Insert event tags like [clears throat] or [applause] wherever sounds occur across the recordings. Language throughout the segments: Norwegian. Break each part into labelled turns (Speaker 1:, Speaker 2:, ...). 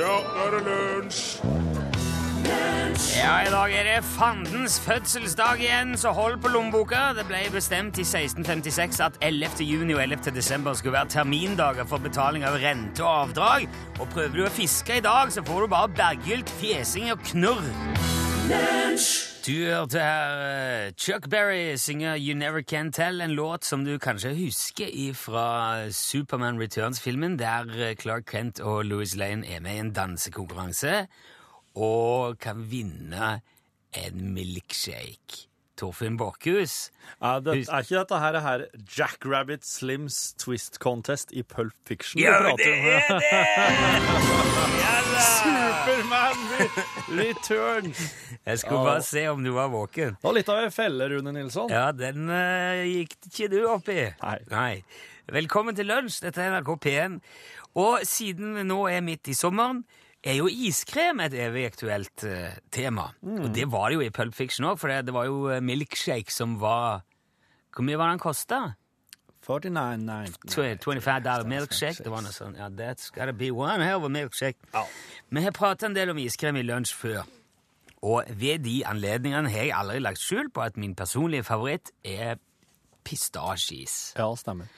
Speaker 1: Ja, nå er det lunsj!
Speaker 2: Ja, i dag er det fandens fødselsdag igjen, så hold på lommeboka. Det ble bestemt i 1656 at 11. juni og 11. desember skulle være termindager for betaling av rente og avdrag. Og prøver du å fiske i dag, så får du bare berggylt, fjesing og knurr. Du hørte her eh, Chuck Berry synger You Never Can Tell, en låt som du kanskje husker fra Superman Returns-filmen, der eh, Clark Kent og Louis Lane er med i en dansekonkurranse og kan vinne en milkshake. Torfinn Borkhus.
Speaker 3: Er, det, er ikke dette her, her Jackrabbit Slims Twist Contest i Pulp Fiction?
Speaker 2: Ja,
Speaker 3: vi prater
Speaker 2: det
Speaker 3: om?
Speaker 2: [laughs] er det! Ja da!
Speaker 3: Superman re- Returns!
Speaker 2: Jeg skulle bare se om du var våken.
Speaker 3: Det var litt av ei felle, Rune Nilsson.
Speaker 2: Ja, den eh, gikk ikke du opp i.
Speaker 3: Nei.
Speaker 2: Velkommen til lunsj, dette er NRK P1. Og siden vi nå er midt i sommeren, er jo iskrem et evig aktuelt eh, tema.
Speaker 3: Mm.
Speaker 2: Og det var det jo i Pulp Fiction òg, for det, det var jo eh, milkshake som var Hvor mye var den kosta?
Speaker 3: 49, nei.
Speaker 2: 25 dollar milkshake? Det var noe sånt. Ja, that's gotta be one hell of a milkshake.
Speaker 3: Ja.
Speaker 2: Vi har pratet en del om iskrem i lunsj før, og ved de anledningene har jeg aldri lagt skjul på at min personlige favoritt er pistasjeis.
Speaker 3: ja, stemmer.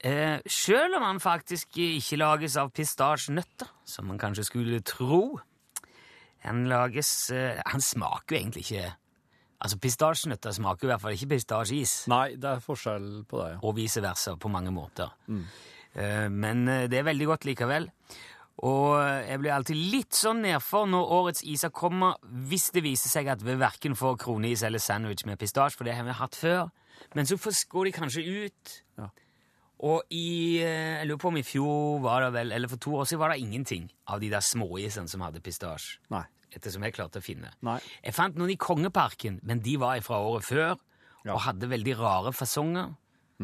Speaker 2: Eh, selv om han faktisk ikke lages av pistasjenøtter, som man kanskje skulle tro. Han lages eh, Han smaker jo egentlig ikke Altså, pistasjenøtter smaker jo i hvert fall ikke pistasjeis
Speaker 3: Nei, det er forskjell på det, ja.
Speaker 2: og vice versa på mange måter.
Speaker 3: Mm.
Speaker 2: Eh, Men eh, det er veldig godt likevel. Og eh, jeg blir alltid litt sånn nedfor når årets iser kommer, hvis det viser seg at vi verken får kroneis eller sandwich med pistasje, for det har vi hatt før. Men så fors- går de kanskje ut.
Speaker 3: Ja.
Speaker 2: Og i eh, Jeg lurer på om i fjor var det vel, eller for to år siden var det ingenting av de der småisene som hadde pistasje.
Speaker 3: Nei.
Speaker 2: Ettersom jeg klarte å finne.
Speaker 3: Nei.
Speaker 2: Jeg fant noen i Kongeparken, men de var fra året før
Speaker 3: Ja.
Speaker 2: og hadde veldig rare fasonger,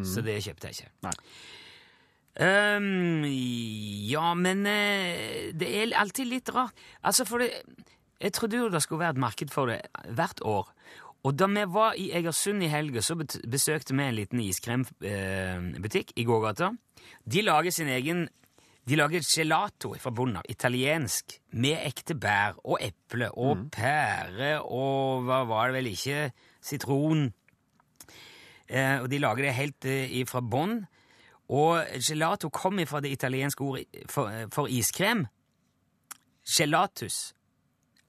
Speaker 2: så det kjøpte jeg ikke.
Speaker 3: Nei.
Speaker 2: Ehm, ja, men eh, det er alltid litt rart. Altså, for det, jeg trodde jo det skulle være et marked for det hvert år. Og da vi var i Egersund i helga, så bet- besøkte vi en liten iskrembutikk eh, i gågata. De lager sin egen de lager gelato fra bunnen av, italiensk, med ekte bær og eple og pære og hva var det vel ikke, sitron. Eh, og de lager det helt eh, fra bånn. Og gelato kom fra det italienske ordet for, eh, for iskrem. Gelatus.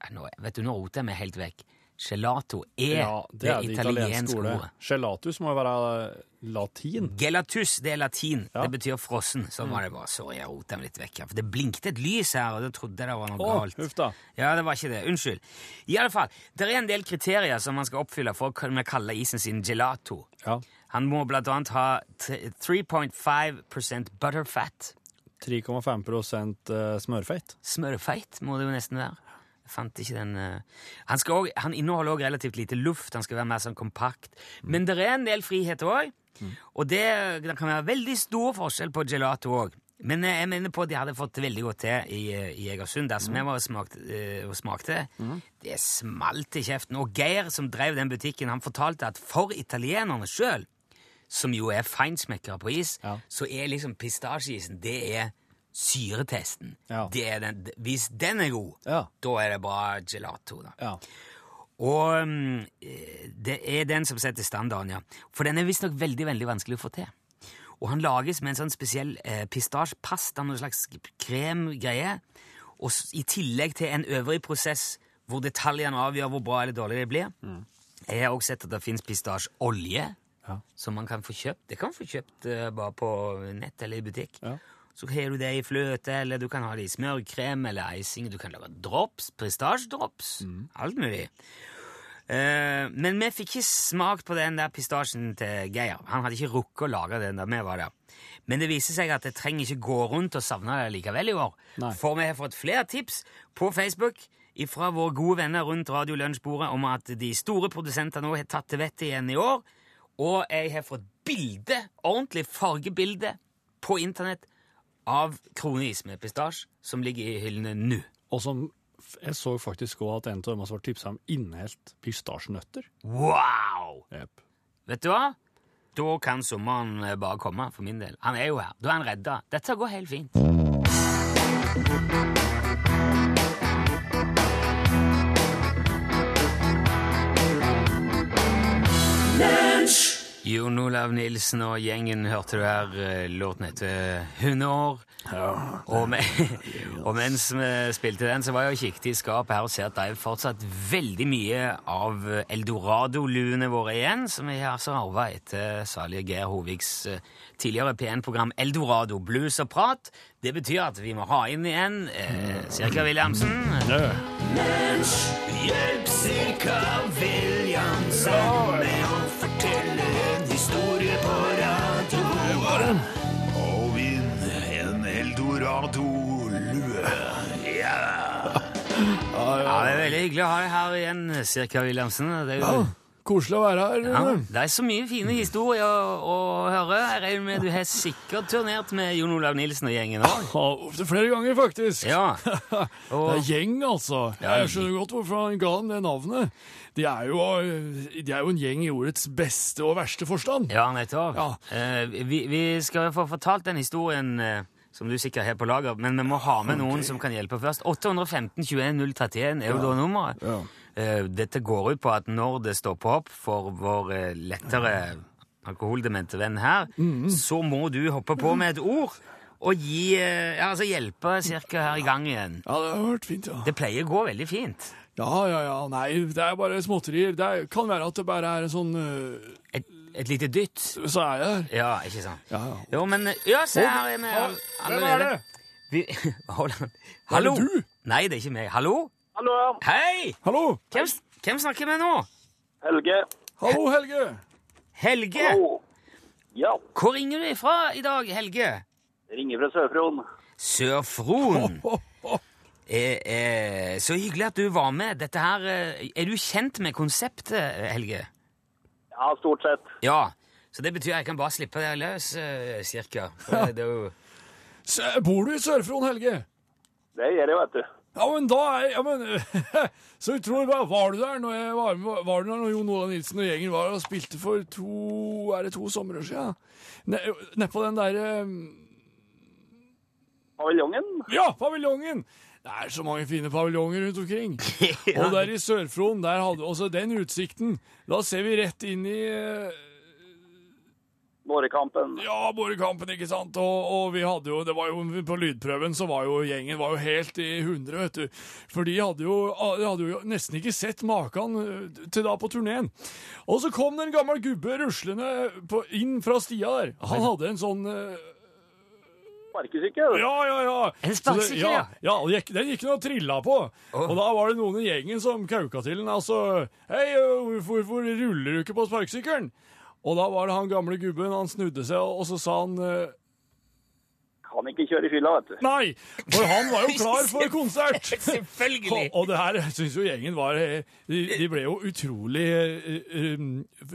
Speaker 2: Eh, Nå, vet du, nå roter jeg meg helt vekk. Gelato er,
Speaker 3: Ja, det er det italienske ordet. Gelatus må jo være eh, latin.
Speaker 2: Gelatus, det er latin.
Speaker 3: Ja. Mm.
Speaker 2: Det betyr frossen. Sånn var det bare. Sorry, jeg rotet meg litt vekk her. For det blinkte et lys her, og da trodde jeg det var noe
Speaker 3: Å,
Speaker 2: galt.
Speaker 3: huff da.
Speaker 2: Ja, det var ikke det. Unnskyld. I alle fall, det er en del kriterier som man skal oppfylle for å kunne kalle isen sin gelato.
Speaker 3: Ja.
Speaker 2: Han må blant annet ha t- 3,5 butterfat.
Speaker 3: 3,5 prosent, eh, smørfett.
Speaker 2: Smørfeit må det jo nesten være. Jeg fant ikke den eh. han, skal også, han inneholder òg relativt lite luft, han skal være mer sånn kompakt. Men det er en del frihet òg, og det, det kan være veldig stor forskjell på gelato òg. Men eh, jeg mener på at de hadde fått det veldig godt til i, eh, i Egersund, der som jeg var og smakte. eh, og smakte. Det smalt i kjeften. Og Geir, som drev den butikken, han fortalte at for italienerne sjøl, som jo er feinsmekkere på is,
Speaker 3: Ja.
Speaker 2: så er liksom pistasjeisen det er syretesten.
Speaker 3: Ja.
Speaker 2: Det er den, hvis den er god,
Speaker 3: Ja.
Speaker 2: da er det bra gelato. Da.
Speaker 3: Ja.
Speaker 2: Og mm, eh, det er den som setter standarden, ja. For den er visstnok veldig veldig vanskelig å få til. Og han lages med en sånn spesiell eh, pistasjepasta, noen slags kremgreie. Og s- i tillegg til en øvrig prosess hvor detaljene avgjør hvor bra eller dårlig det blir. Jeg har også sett at det fins pistasjeolje
Speaker 3: Mm. Ja.
Speaker 2: som man kan få kjøpt. Det kan man få kjøpt eh, bare på nett eller i butikk.
Speaker 3: Ja.
Speaker 2: Så har du det i fløte, eller du kan ha det i smørkrem eller icing. Du kan lage drops, pistasjedrops,
Speaker 3: Mm.
Speaker 2: alt mulig. Eh, men vi fikk ikke smakt på den der pistasjen til Geir. Han hadde ikke rukket å lage den da vi var der. Men det viser seg at jeg trenger ikke gå rundt og savne det likevel i år.
Speaker 3: Nei.
Speaker 2: For vi har fått flere tips på Facebook fra våre gode venner rundt Radio Lunsjbordet om at de store produsentene nå har tatt til vettet igjen i år. Og jeg har fått bilde, ordentlig fargebilde, på internett av kroneis med pistasje som ligger i hyllene nå.
Speaker 3: Og som f- jeg så faktisk òg at en av dem har tipsa om innhelt pistasjenøtter.
Speaker 2: Wow!
Speaker 3: Yep.
Speaker 2: Vet du hva? Da kan sommeren eh, bare komme, for min del. Han er jo her. Da er han redda. Dette går helt fint. Jon Olav Nilsen og gjengen hørte du her. eh, Låten heter 'Hundeår'. og, me [laughs] og mens vi spilte den, så var jeg og kikket i skapet her og ser at det er fortsatt veldig mye av eh, Eldorado-luene våre igjen, som vi har altså arva etter salige Geir Hoviks eh, tidligere P1-program Eldorado blues og prat. Det betyr at vi må ha inn igjen eh, Cirka Williamsen. Hjelp Cirka Williamsen med å fortelle en historie på radio.
Speaker 4: Og vinn en eldorado-lue.
Speaker 2: Ja, det er veldig hyggelig å ha deg her igjen, Cirka Williamsen. Det er, jo,
Speaker 3: Koselig å være her.
Speaker 2: ja,
Speaker 3: Rune.
Speaker 2: det er så mye fine historier å, å høre. Jeg regner med du har sikkert turnert med Jon Olav Nilsen og gjengen òg.
Speaker 3: Ja, opptil eh, flere ganger, faktisk.
Speaker 2: Ja.
Speaker 3: [laughs] Det
Speaker 2: Og,
Speaker 3: er gjeng, altså. Jeg skjønner godt hvorfor han ga dem det navnet. De er, jo, de er jo en gjeng i ordets beste og verste forstand.
Speaker 2: ja, nettopp.
Speaker 3: Ja.
Speaker 2: Eh, vi, vi skal få fortalt den historien eh, som du sikkert har på lager, men vi må ha med noen som kan hjelpe først. 815 21 031 er jo da nummeret.
Speaker 3: Ja.
Speaker 2: Eh, Dette går ut på at når det stopper opp for vår eh, lettere alkoholdemente venn her,
Speaker 3: Mm.
Speaker 2: så må du hoppe på med et ord og gi, eh, ja, altså hjelpe cirka her i gang igjen.
Speaker 3: Ja, det har vært fint, ja.
Speaker 2: Det pleier å gå veldig fint.
Speaker 3: Ja, ja, ja. Nei, det er bare småtterier. Det er, kan være at det bare er en sånn øh,
Speaker 2: Et, et lite dytt.
Speaker 3: Så er jeg der.
Speaker 2: Ja, ikke sant?
Speaker 3: Ja, ja.
Speaker 2: Jo, men eh, Ja, se her er vi
Speaker 3: Hvem
Speaker 2: all-
Speaker 3: er det?
Speaker 2: allerede. Vi, [laughs] hold an. Hallo?
Speaker 3: du?
Speaker 2: Nei, det er ikke meg. Hallo?
Speaker 5: Hallo, ja.
Speaker 2: Hei!
Speaker 3: Hallo!
Speaker 2: Hvem, s- hvem snakker vi med nå?
Speaker 5: Helge.
Speaker 3: Hallo, Helge!
Speaker 2: Helge?
Speaker 5: Hallo. Ja,
Speaker 2: Hvor ringer du ifra i dag, Helge?
Speaker 5: jeg ringer fra Sør-Fron.
Speaker 2: Sør-Fron. Eh, eh, så hyggelig at du var med. Dette her, eh, er du kjent med konseptet, eh, Helge?
Speaker 5: Ja, stort sett.
Speaker 2: Ja. Så det betyr jeg kan bare slippe deg løs, eh, cirka. For Det, det er jo... [laughs]
Speaker 3: S bor du i Sør-Fron, Helge?
Speaker 5: Det gjør jeg, vet du.
Speaker 3: Ja, men da er ja, men, [laughs] Så utrolig bra. Var du der når, jeg var, med- var du der når Jon Olav Nilsen og gjengen var og spilte for to Er det to somre siden? Ne- Nedpå den derre
Speaker 5: Paviljongen?
Speaker 3: Ja, paviljongen! Det er så mange fine paviljonger rundt omkring. Og der i Sør-Fron, der hadde også den utsikten. Da ser vi rett inn i eh,
Speaker 5: Nårekampen.
Speaker 3: Ja, Borgerkampen, ikke sant? Og, og vi hadde jo, det var jo, på lydprøven så var jo gjengen var jo helt i hundre, vet du. For de hadde jo, de hadde jo nesten ikke sett maken eh, til da på turnéen. Og så kom det en gammel gubbe ruslende på, inn fra stia der. Han hadde en sånn... eh,
Speaker 5: Sparkesykkel.
Speaker 3: ja, ja, ja.
Speaker 2: En
Speaker 3: Så det-
Speaker 2: sparkesykkel, ja.
Speaker 3: ja. ja og gikk- den gikk den og trilla på. Og da var det noen i gjengen som kauka til den. Altså Hei, øh, hvorfor, hvorfor ruller du ikke på sparkesykkelen? Og da var det han gamle gubben, han snudde seg, og og så sa han øh,
Speaker 5: Kan ikke kjøre i fylla, vet du.
Speaker 3: nei! For han var jo klar
Speaker 2: [laughs]
Speaker 3: for konsert!
Speaker 2: Selvfølgelig!
Speaker 3: Og, og det her syns jo gjengen var eh, De, de ble jo utrolig eh, um,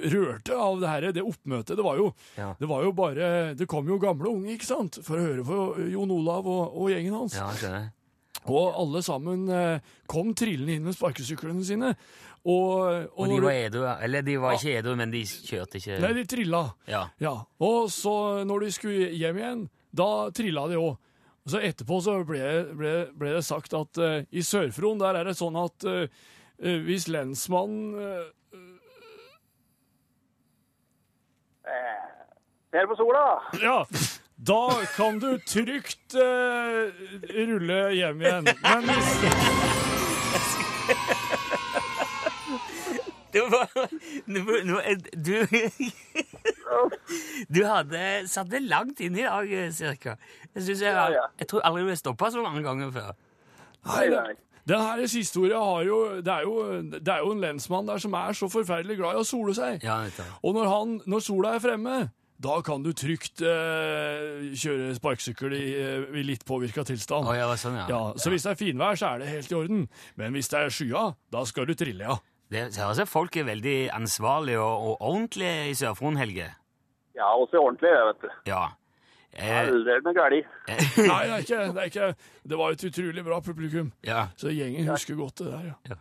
Speaker 3: rørte av det her, det oppmøtet. Det var, jo,
Speaker 2: Ja.
Speaker 3: det var jo bare Det kom jo gamle og unge, ikke sant? For å høre på Jon Olav og, og gjengen hans.
Speaker 2: Ja, jeg skjønner.
Speaker 3: Og alle sammen eh, kom trillende inn med sparkesyklene sine. Og, og
Speaker 2: Og de
Speaker 3: når du-
Speaker 2: var
Speaker 3: Ah.
Speaker 2: edru, ja. eller de var ikke edru, men de kjørte
Speaker 3: Nei,
Speaker 2: ikke
Speaker 3: de trilla.
Speaker 2: Ja.
Speaker 3: Ja. Og så, når de skulle hjem igjen, da trilla de òg. Og så etterpå så ble, ble, ble det sagt at eh, i Sør-Fron der er det sånn at eh, eh, hvis lensmannen eh, [clears throat]
Speaker 5: Per på sola.
Speaker 3: Ja, da kan du trygt eh, rulle hjem igjen. Men hvis
Speaker 2: Det var nå- nå- Du Du [laughs] hadde satt det langt inn i dag, eh, cirka. Jeg, synes jeg,
Speaker 5: Ja, ja.
Speaker 2: jeg tror aldri du har stoppa så mange ganger før.
Speaker 3: Nei, det-
Speaker 5: nei.
Speaker 3: Den her siste historia har jo det, er jo det er jo en lensmann der som er så forferdelig glad i å sole seg.
Speaker 2: Ja, nettopp.
Speaker 3: Og når, han, når sola er fremme, da kan du trygt eh, kjøre sparkesykkel i, eh, i litt påvirka tilstand.
Speaker 2: Å, ja, det var sånn, ja.
Speaker 3: Ja, så hvis det er finvær, så er det helt i orden. Men hvis det er skya, da skal du trille,
Speaker 2: [laughs]
Speaker 3: ja.
Speaker 2: Det ser altså folk er veldig ansvarlige og, og ordentlige i Sør-Fron, Helge.
Speaker 5: Ja, også ordentlig, det, vet du.
Speaker 2: Ja. Eh,
Speaker 5: Aldri med gærlig.
Speaker 3: Nei, det er ikke det. Er ikke, det var et utrolig bra publikum.
Speaker 2: ja.
Speaker 3: Så gjengen husker godt det der, ja.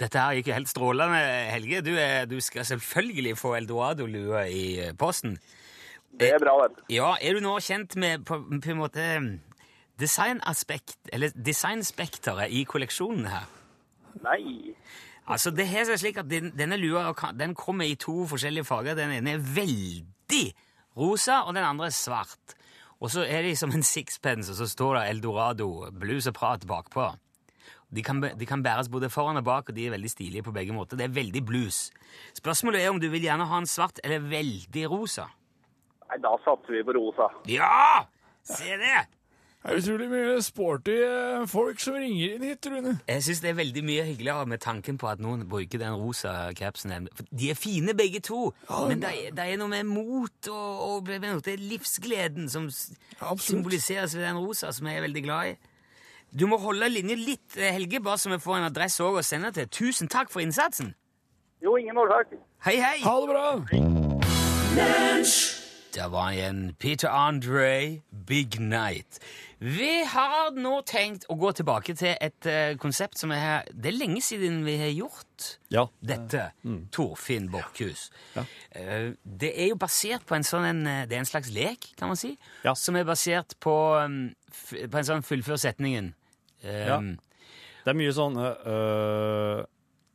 Speaker 2: Dette her gikk jo helt strålende, Helge. Du, er, du skal selvfølgelig få eldorado-lua i eh, posten.
Speaker 5: Det er bra, vet du.
Speaker 2: Ja, er du nå kjent med på, på en måte designaspekt, eller designspekteret i kolleksjonen her?
Speaker 5: Nei.
Speaker 2: Altså, det her er slik at den, denne lua kan- den kommer i to forskjellige farger. Den ene er veldig rosa, og den andre er svart. Og så er de som en sixpence, og så står det Eldorado, blues og prat bakpå. De kan, bæ- de kan bæres både foran og bak, og de er veldig stilige på begge måter. Det er veldig blues. Spørsmålet er om du vil gjerne ha en svart eller veldig rosa.
Speaker 5: Nei, da satser vi på rosa.
Speaker 2: Ja! Se det!
Speaker 6: Det er utrolig mye sporty eh, folk som ringer inn hit, Rune.
Speaker 2: Jeg syns det er veldig mye hyggeligere med tanken på at noen bruker den rosa capsen. enn- For de er fine, begge to, men det er, det er noe med mot og, og det er noe til livsgleden som s-
Speaker 6: Absolutt.
Speaker 2: symboliseres ved den rosa, som jeg er veldig glad i. Du må holde linja litt, eh, Helge, bare så vi får en adresse òg å sende til. Tusen takk for innsatsen!
Speaker 5: Jo, ingen årsak.
Speaker 2: Hei, hei!
Speaker 6: Ha det bra!
Speaker 2: Der var igjen Peter Andre, Big Night. Vi har nå tenkt å gå tilbake til et eh, konsept som er her Det er lenge siden vi har gjort
Speaker 3: Ja.
Speaker 2: dette,
Speaker 3: Mm.
Speaker 2: Torfinn Borchhus. Eh, det er jo basert på en sånn en, eh, Det er en slags lek, kan man si,
Speaker 3: Ja.
Speaker 2: som er basert på, um, f på en sånn fullfør setningen. Eh,
Speaker 3: Ja. Det er mye sånn øh,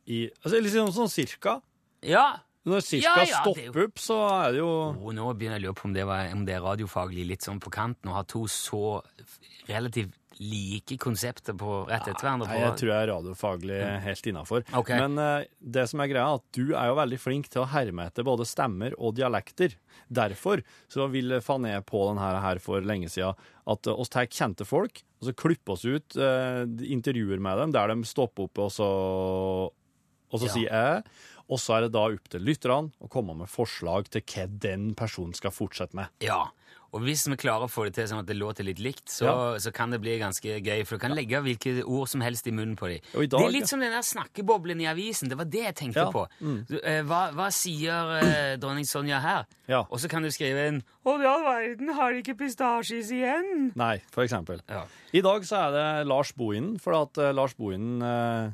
Speaker 3: i altså, Litt sånn, sånn cirka.
Speaker 2: ja.
Speaker 3: Når cirka
Speaker 2: Ja, ja, det er jo-
Speaker 3: stopper opp, så er det jo
Speaker 2: Og nå begynner jeg å lure på om det, var, om det er radiofaglig litt sånn på kanten å ha to så relativt like konsepter på, rett etter hverandre.
Speaker 3: Nei,
Speaker 2: på-
Speaker 3: jeg tror jeg er radiofaglig helt innafor.
Speaker 2: Ok.
Speaker 3: Men eh, det som er greia, er at du er jo veldig flink til å herme etter både stemmer og dialekter. Derfor så vil Fané på den her, her for lenge siden at eh, oss tar kjente folk, og så klipper oss ut eh, intervjuer med dem der de stopper opp og så, og så
Speaker 2: Ja.
Speaker 3: sier jeg. Og så er det da opp til lytterne å komme med forslag til hva den personen skal fortsette med.
Speaker 2: Ja, og hvis vi klarer å få det til sånn at det låter litt likt, så, så kan det bli ganske gøy, for du kan legge hvilke ord som helst i munnen på dem.
Speaker 3: Og i dag,
Speaker 2: det er litt
Speaker 3: ja.
Speaker 2: som den der snakkeboblen i avisen, det var det jeg tenkte
Speaker 3: Ja, Mm.
Speaker 2: på. Du, eh, hva, hva sier eh, dronning Sonja her?
Speaker 3: Ja.
Speaker 2: Og så kan du skrive inn Å, i all verden, har de ikke pistasjes igjen?
Speaker 3: Nei, for eksempel.
Speaker 2: Ja.
Speaker 3: I dag så er det Lars Bohinen, for at eh, Lars Bohinen eh,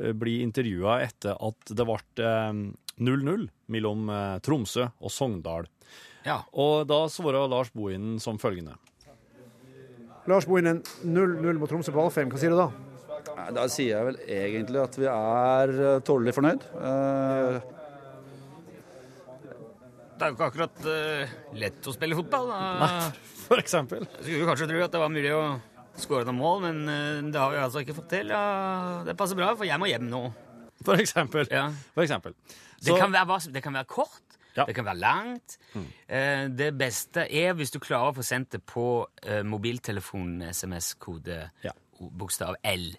Speaker 3: blir intervjua etter at det ble eh, 0-0 mellom eh, Tromsø og Sogndal.
Speaker 2: Ja.
Speaker 3: Og da svarer Lars Bohinen som følgende.
Speaker 7: Lars Bohinen, 0-0 mot Tromsø på Alfheim. Hva sier du da?
Speaker 8: Nei, Da sier jeg vel egentlig at vi er eh, tålelig fornøyd. Eh,
Speaker 2: Det er jo ikke akkurat eh, lett å spille fotball. Da.
Speaker 3: For eksempel.
Speaker 2: Jeg Skulle jo kanskje tro at det var mulig å skåre noen mål, men eh, det har vi altså ikke fått til. Ja, det passer bra, for jeg må hjem nå.
Speaker 3: For eksempel.
Speaker 2: Ja.
Speaker 3: For eksempel.
Speaker 2: Det,
Speaker 3: Så-
Speaker 2: kan være, hva som- det kan være kort,
Speaker 3: Ja. Mm.
Speaker 2: det kan være langt. Eh, det beste er hvis du klarer å få sendt det på eh, mobiltelefonen SMS-kode
Speaker 3: Ja.
Speaker 2: o- bokstav L.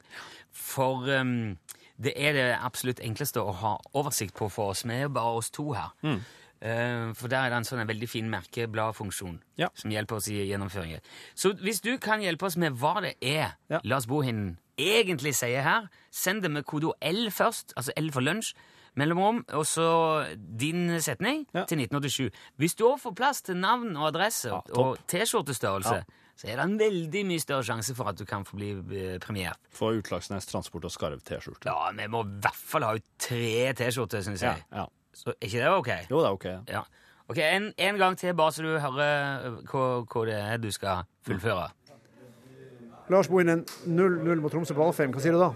Speaker 2: For ehm, det er det absolutt enkleste å ha oversikt på for oss. Vi er jo bare oss to her.
Speaker 3: Mm.
Speaker 2: Eh, for der er det en sånn en veldig fin merkebladfunksjon
Speaker 3: Ja.
Speaker 2: som hjelper oss i gjennomføringen. Så hvis du kan hjelpe oss med hva det er
Speaker 3: Ja.
Speaker 2: Lars Bohinen egentlig sier her, send det med kodo L først, altså L for lunsj, mellomrom, og så din setning
Speaker 3: Ja.
Speaker 2: til 1987. Hvis du også får plass til navn og adresse og
Speaker 3: topp.
Speaker 2: T-skjortestørrelse, så er det en veldig mye større sjanse for at du kan få bli eh, premiert.
Speaker 3: For Utslagsnes Transport og Skarv T-skjorte.
Speaker 2: Ja, vi må i hvert fall ha ut tre T-skjorter, syns jeg.
Speaker 3: ja.
Speaker 2: Så er ikke det ok?
Speaker 3: Jo, det er ok.
Speaker 2: Ja. Ok, en, en gang til, bare så du hører eh, hva, hva det er du skal fullføre.
Speaker 7: Lars Bohinen, 0-0 mot Tromsø på Alfheim. Hva sier du da?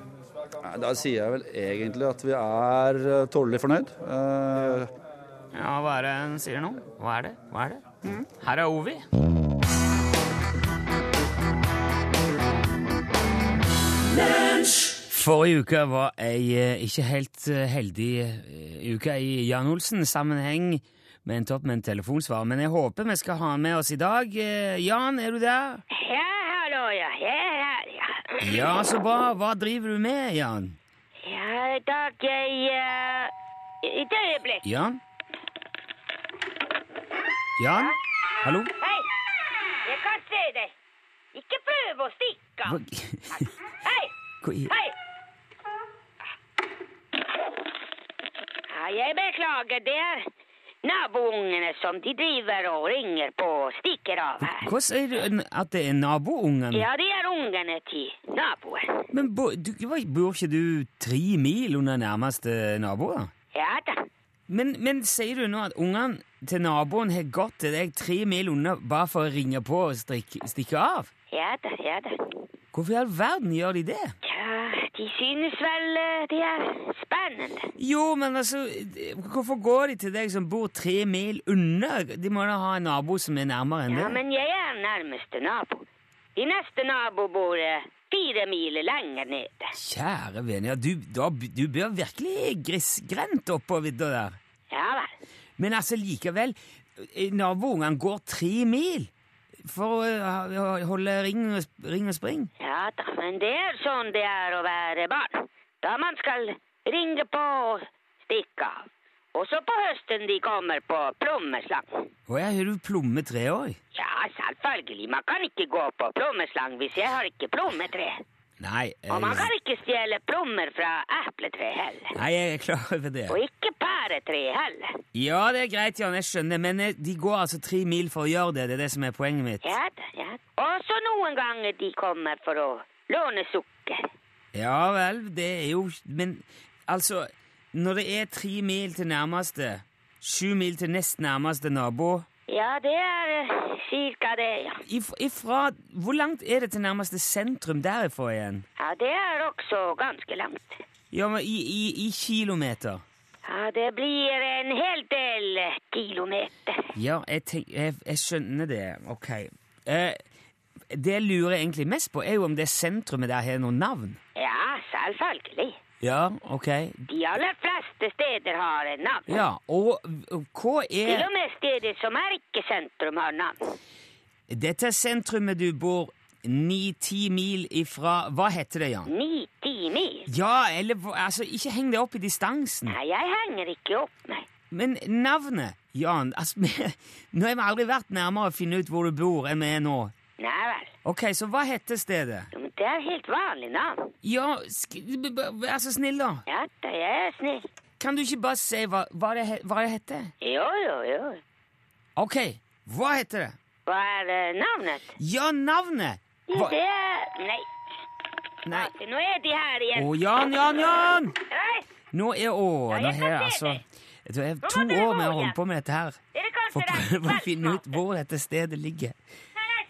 Speaker 8: Nei, Da sier jeg vel egentlig at vi er eh, tålelig fornøyd. Eh,
Speaker 2: Ja, hva er det hun sier nå? Mm. Hva er det? Hva er det? Her er Ovi. Forrige uke var ei eh, ikke helt eh, heldig eh, uke i Jan Olsen-sammenheng. Vi endte opp med en telefonsvarer, men jeg håper vi skal ha med oss i dag. Eh, Jan, er du der?
Speaker 9: Ja, hallo, ja. Jeg er her, ja.
Speaker 2: Ja, så bra. Hva driver du med, Jan?
Speaker 9: Ja, i dag jeg eh, Et øyeblikk.
Speaker 2: Jan? Jan? Hallo?
Speaker 9: Hei! Jeg kan se deg. Ikke prøv å
Speaker 2: Hva, [laughs]
Speaker 9: stikke av. Hei!
Speaker 2: hva i
Speaker 9: Hei! Ja, jeg beklager. Det er naboungene som de driver og ringer på og stikker av her.
Speaker 2: Hva sier du n- at det er naboungen?
Speaker 9: Ja, det er ungene til naboen.
Speaker 2: Men bo, du, hva- bor ikke du tre mil under nærmeste naboer?
Speaker 9: Ja da.
Speaker 2: Men, men sier du nå at ungene til naboen har gått til deg tre mil unna bare for å ringe på og strikke, stikke av?
Speaker 9: Ja da, ja da.
Speaker 2: Hvorfor i all verden gjør de det?
Speaker 9: Ja, De synes vel eh, de er spennende.
Speaker 2: Jo, men altså, de- hvorfor går de til deg som bor tre mil unna? De må da ha en nabo som er nærmere enn
Speaker 9: Ja,
Speaker 2: det.
Speaker 9: men jeg er nærmeste nabo. De neste nabo bor eh, fire miler lenger nede.
Speaker 2: Kjære vene, ja, du, da, du bør virkelig grisgrendt opp på vidda der.
Speaker 9: Ja vel.
Speaker 2: Men altså, likevel, eh, naboungene går tre mil for å eh, ha- holde ring og, sp- ring og spring.
Speaker 9: Ja da, men det er sånn det er å være barn. Da man skal ringe på og stikke av. Og så på høsten de kommer på plommeslang.
Speaker 2: Å ja, har du plommetre òg?
Speaker 9: Ja, selvfølgelig. Man kan ikke gå på plommeslang hvis jeg har ikke plommetre.
Speaker 2: Nei, eh,
Speaker 9: Og man kan ikke stjele plommer fra epletre heller.
Speaker 2: nei, jeg er klar over det.
Speaker 9: Og ikke pæretre heller.
Speaker 2: Ja, det er greit, Jan, jeg skjønner, men eh, de går altså tre mil for å gjøre det. Det er det som er poenget mitt.
Speaker 9: Ja da, ja. Og så noen ganger de kommer for å låne sukker.
Speaker 2: Ja vel, det er jo Men altså, når det er tre mil til nærmeste, sju mil til nest nærmeste nabo
Speaker 9: Ja, det er eh, cirka det, ja.
Speaker 2: if, Ifra Hvor langt er det til nærmeste sentrum derifra igjen?
Speaker 9: Ja, det er også ganske langt.
Speaker 2: Ja, men i, i, i kilometer.
Speaker 9: Ja, det blir en hel del eh, kilometer.
Speaker 2: Ja, jeg, tenk, jeg, jeg skjønner det. Ok. Eh, det jeg lurer egentlig mest på, er jo om det sentrumet der har noe navn.
Speaker 9: Ja, selvfølgelig.
Speaker 2: Ja, ok.
Speaker 9: De aller fleste steder har en navn.
Speaker 2: Ja, og og hva
Speaker 9: Til
Speaker 2: er
Speaker 9: og med steder som er ikke sentrum, har navn.
Speaker 2: Dette sentrumet du bor ni-ti mil ifra Hva heter det, Jan?
Speaker 9: Ni-ti mil.
Speaker 2: Ja, eller hva- altså, ikke heng deg opp i distansen.
Speaker 9: Nei, jeg henger ikke opp, nei.
Speaker 2: Men navnet, Jan altså, [laughs] vi- Nå har vi aldri vært nærmere å finne ut hvor du bor enn vi er nå.
Speaker 9: Nei vel.
Speaker 2: Ok, så hva heter stedet?
Speaker 9: Jo, men det er helt vanlig navn.
Speaker 2: Ja, sk b- b- vær så snill, da.
Speaker 9: Ja da, jeg er snill.
Speaker 2: Kan du ikke bare si hva, hva, det, he- hva det heter?
Speaker 9: Jo, jo, jo.
Speaker 2: Ok, hva heter det?
Speaker 9: Hva er eh, navnet?
Speaker 2: Ja, navnet! Hva?
Speaker 9: Det er Nei,
Speaker 2: Nei.
Speaker 9: Ake, nå er de
Speaker 2: Å,
Speaker 9: her igjen.
Speaker 2: Jan, Jan, Jan!
Speaker 9: Nei,
Speaker 2: Nå er Å, nå
Speaker 9: jeg
Speaker 2: har jeg
Speaker 9: kan se
Speaker 2: altså
Speaker 9: deg.
Speaker 2: Det er
Speaker 9: må
Speaker 2: to
Speaker 9: dere gå
Speaker 2: år vi har
Speaker 9: igjen.
Speaker 2: holdt på med dette her.
Speaker 9: dere kan
Speaker 2: For å prøve å finne ut hvor dette stedet ligger.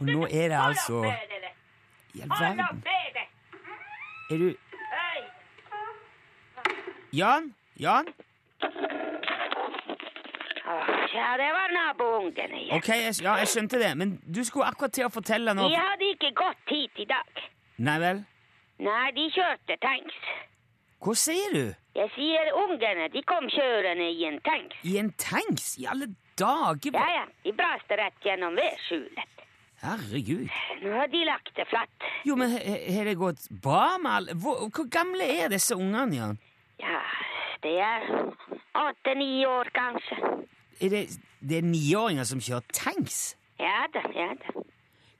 Speaker 2: Og nå er det altså I all verden. Er du Jan? Jan?
Speaker 9: Ja, det var naboungene igjen.
Speaker 2: Ok, jeg, ja, jeg skjønte det, men du skulle akkurat til å fortelle nå
Speaker 9: De hadde ikke gått hit i dag.
Speaker 2: Nei vel?
Speaker 9: Nei, de kjørte tanks.
Speaker 2: Hva sier du?
Speaker 9: Jeg sier ungene, de kom kjørende i en tanks.
Speaker 2: I en tanks? I alle dager?
Speaker 9: Ja,
Speaker 2: hva-
Speaker 9: ja, de braste rett gjennom vedskjulet.
Speaker 2: Herregud.
Speaker 9: Nå har de lagt det flatt.
Speaker 2: Jo, men he- he- har det gått bra med alle hvor, hvor gamle er disse ungene, Jan?
Speaker 9: Ja, det er åtte-ni år kanskje.
Speaker 2: Er det, det er niåringer som kjører tanks?
Speaker 9: Ja da, ja da.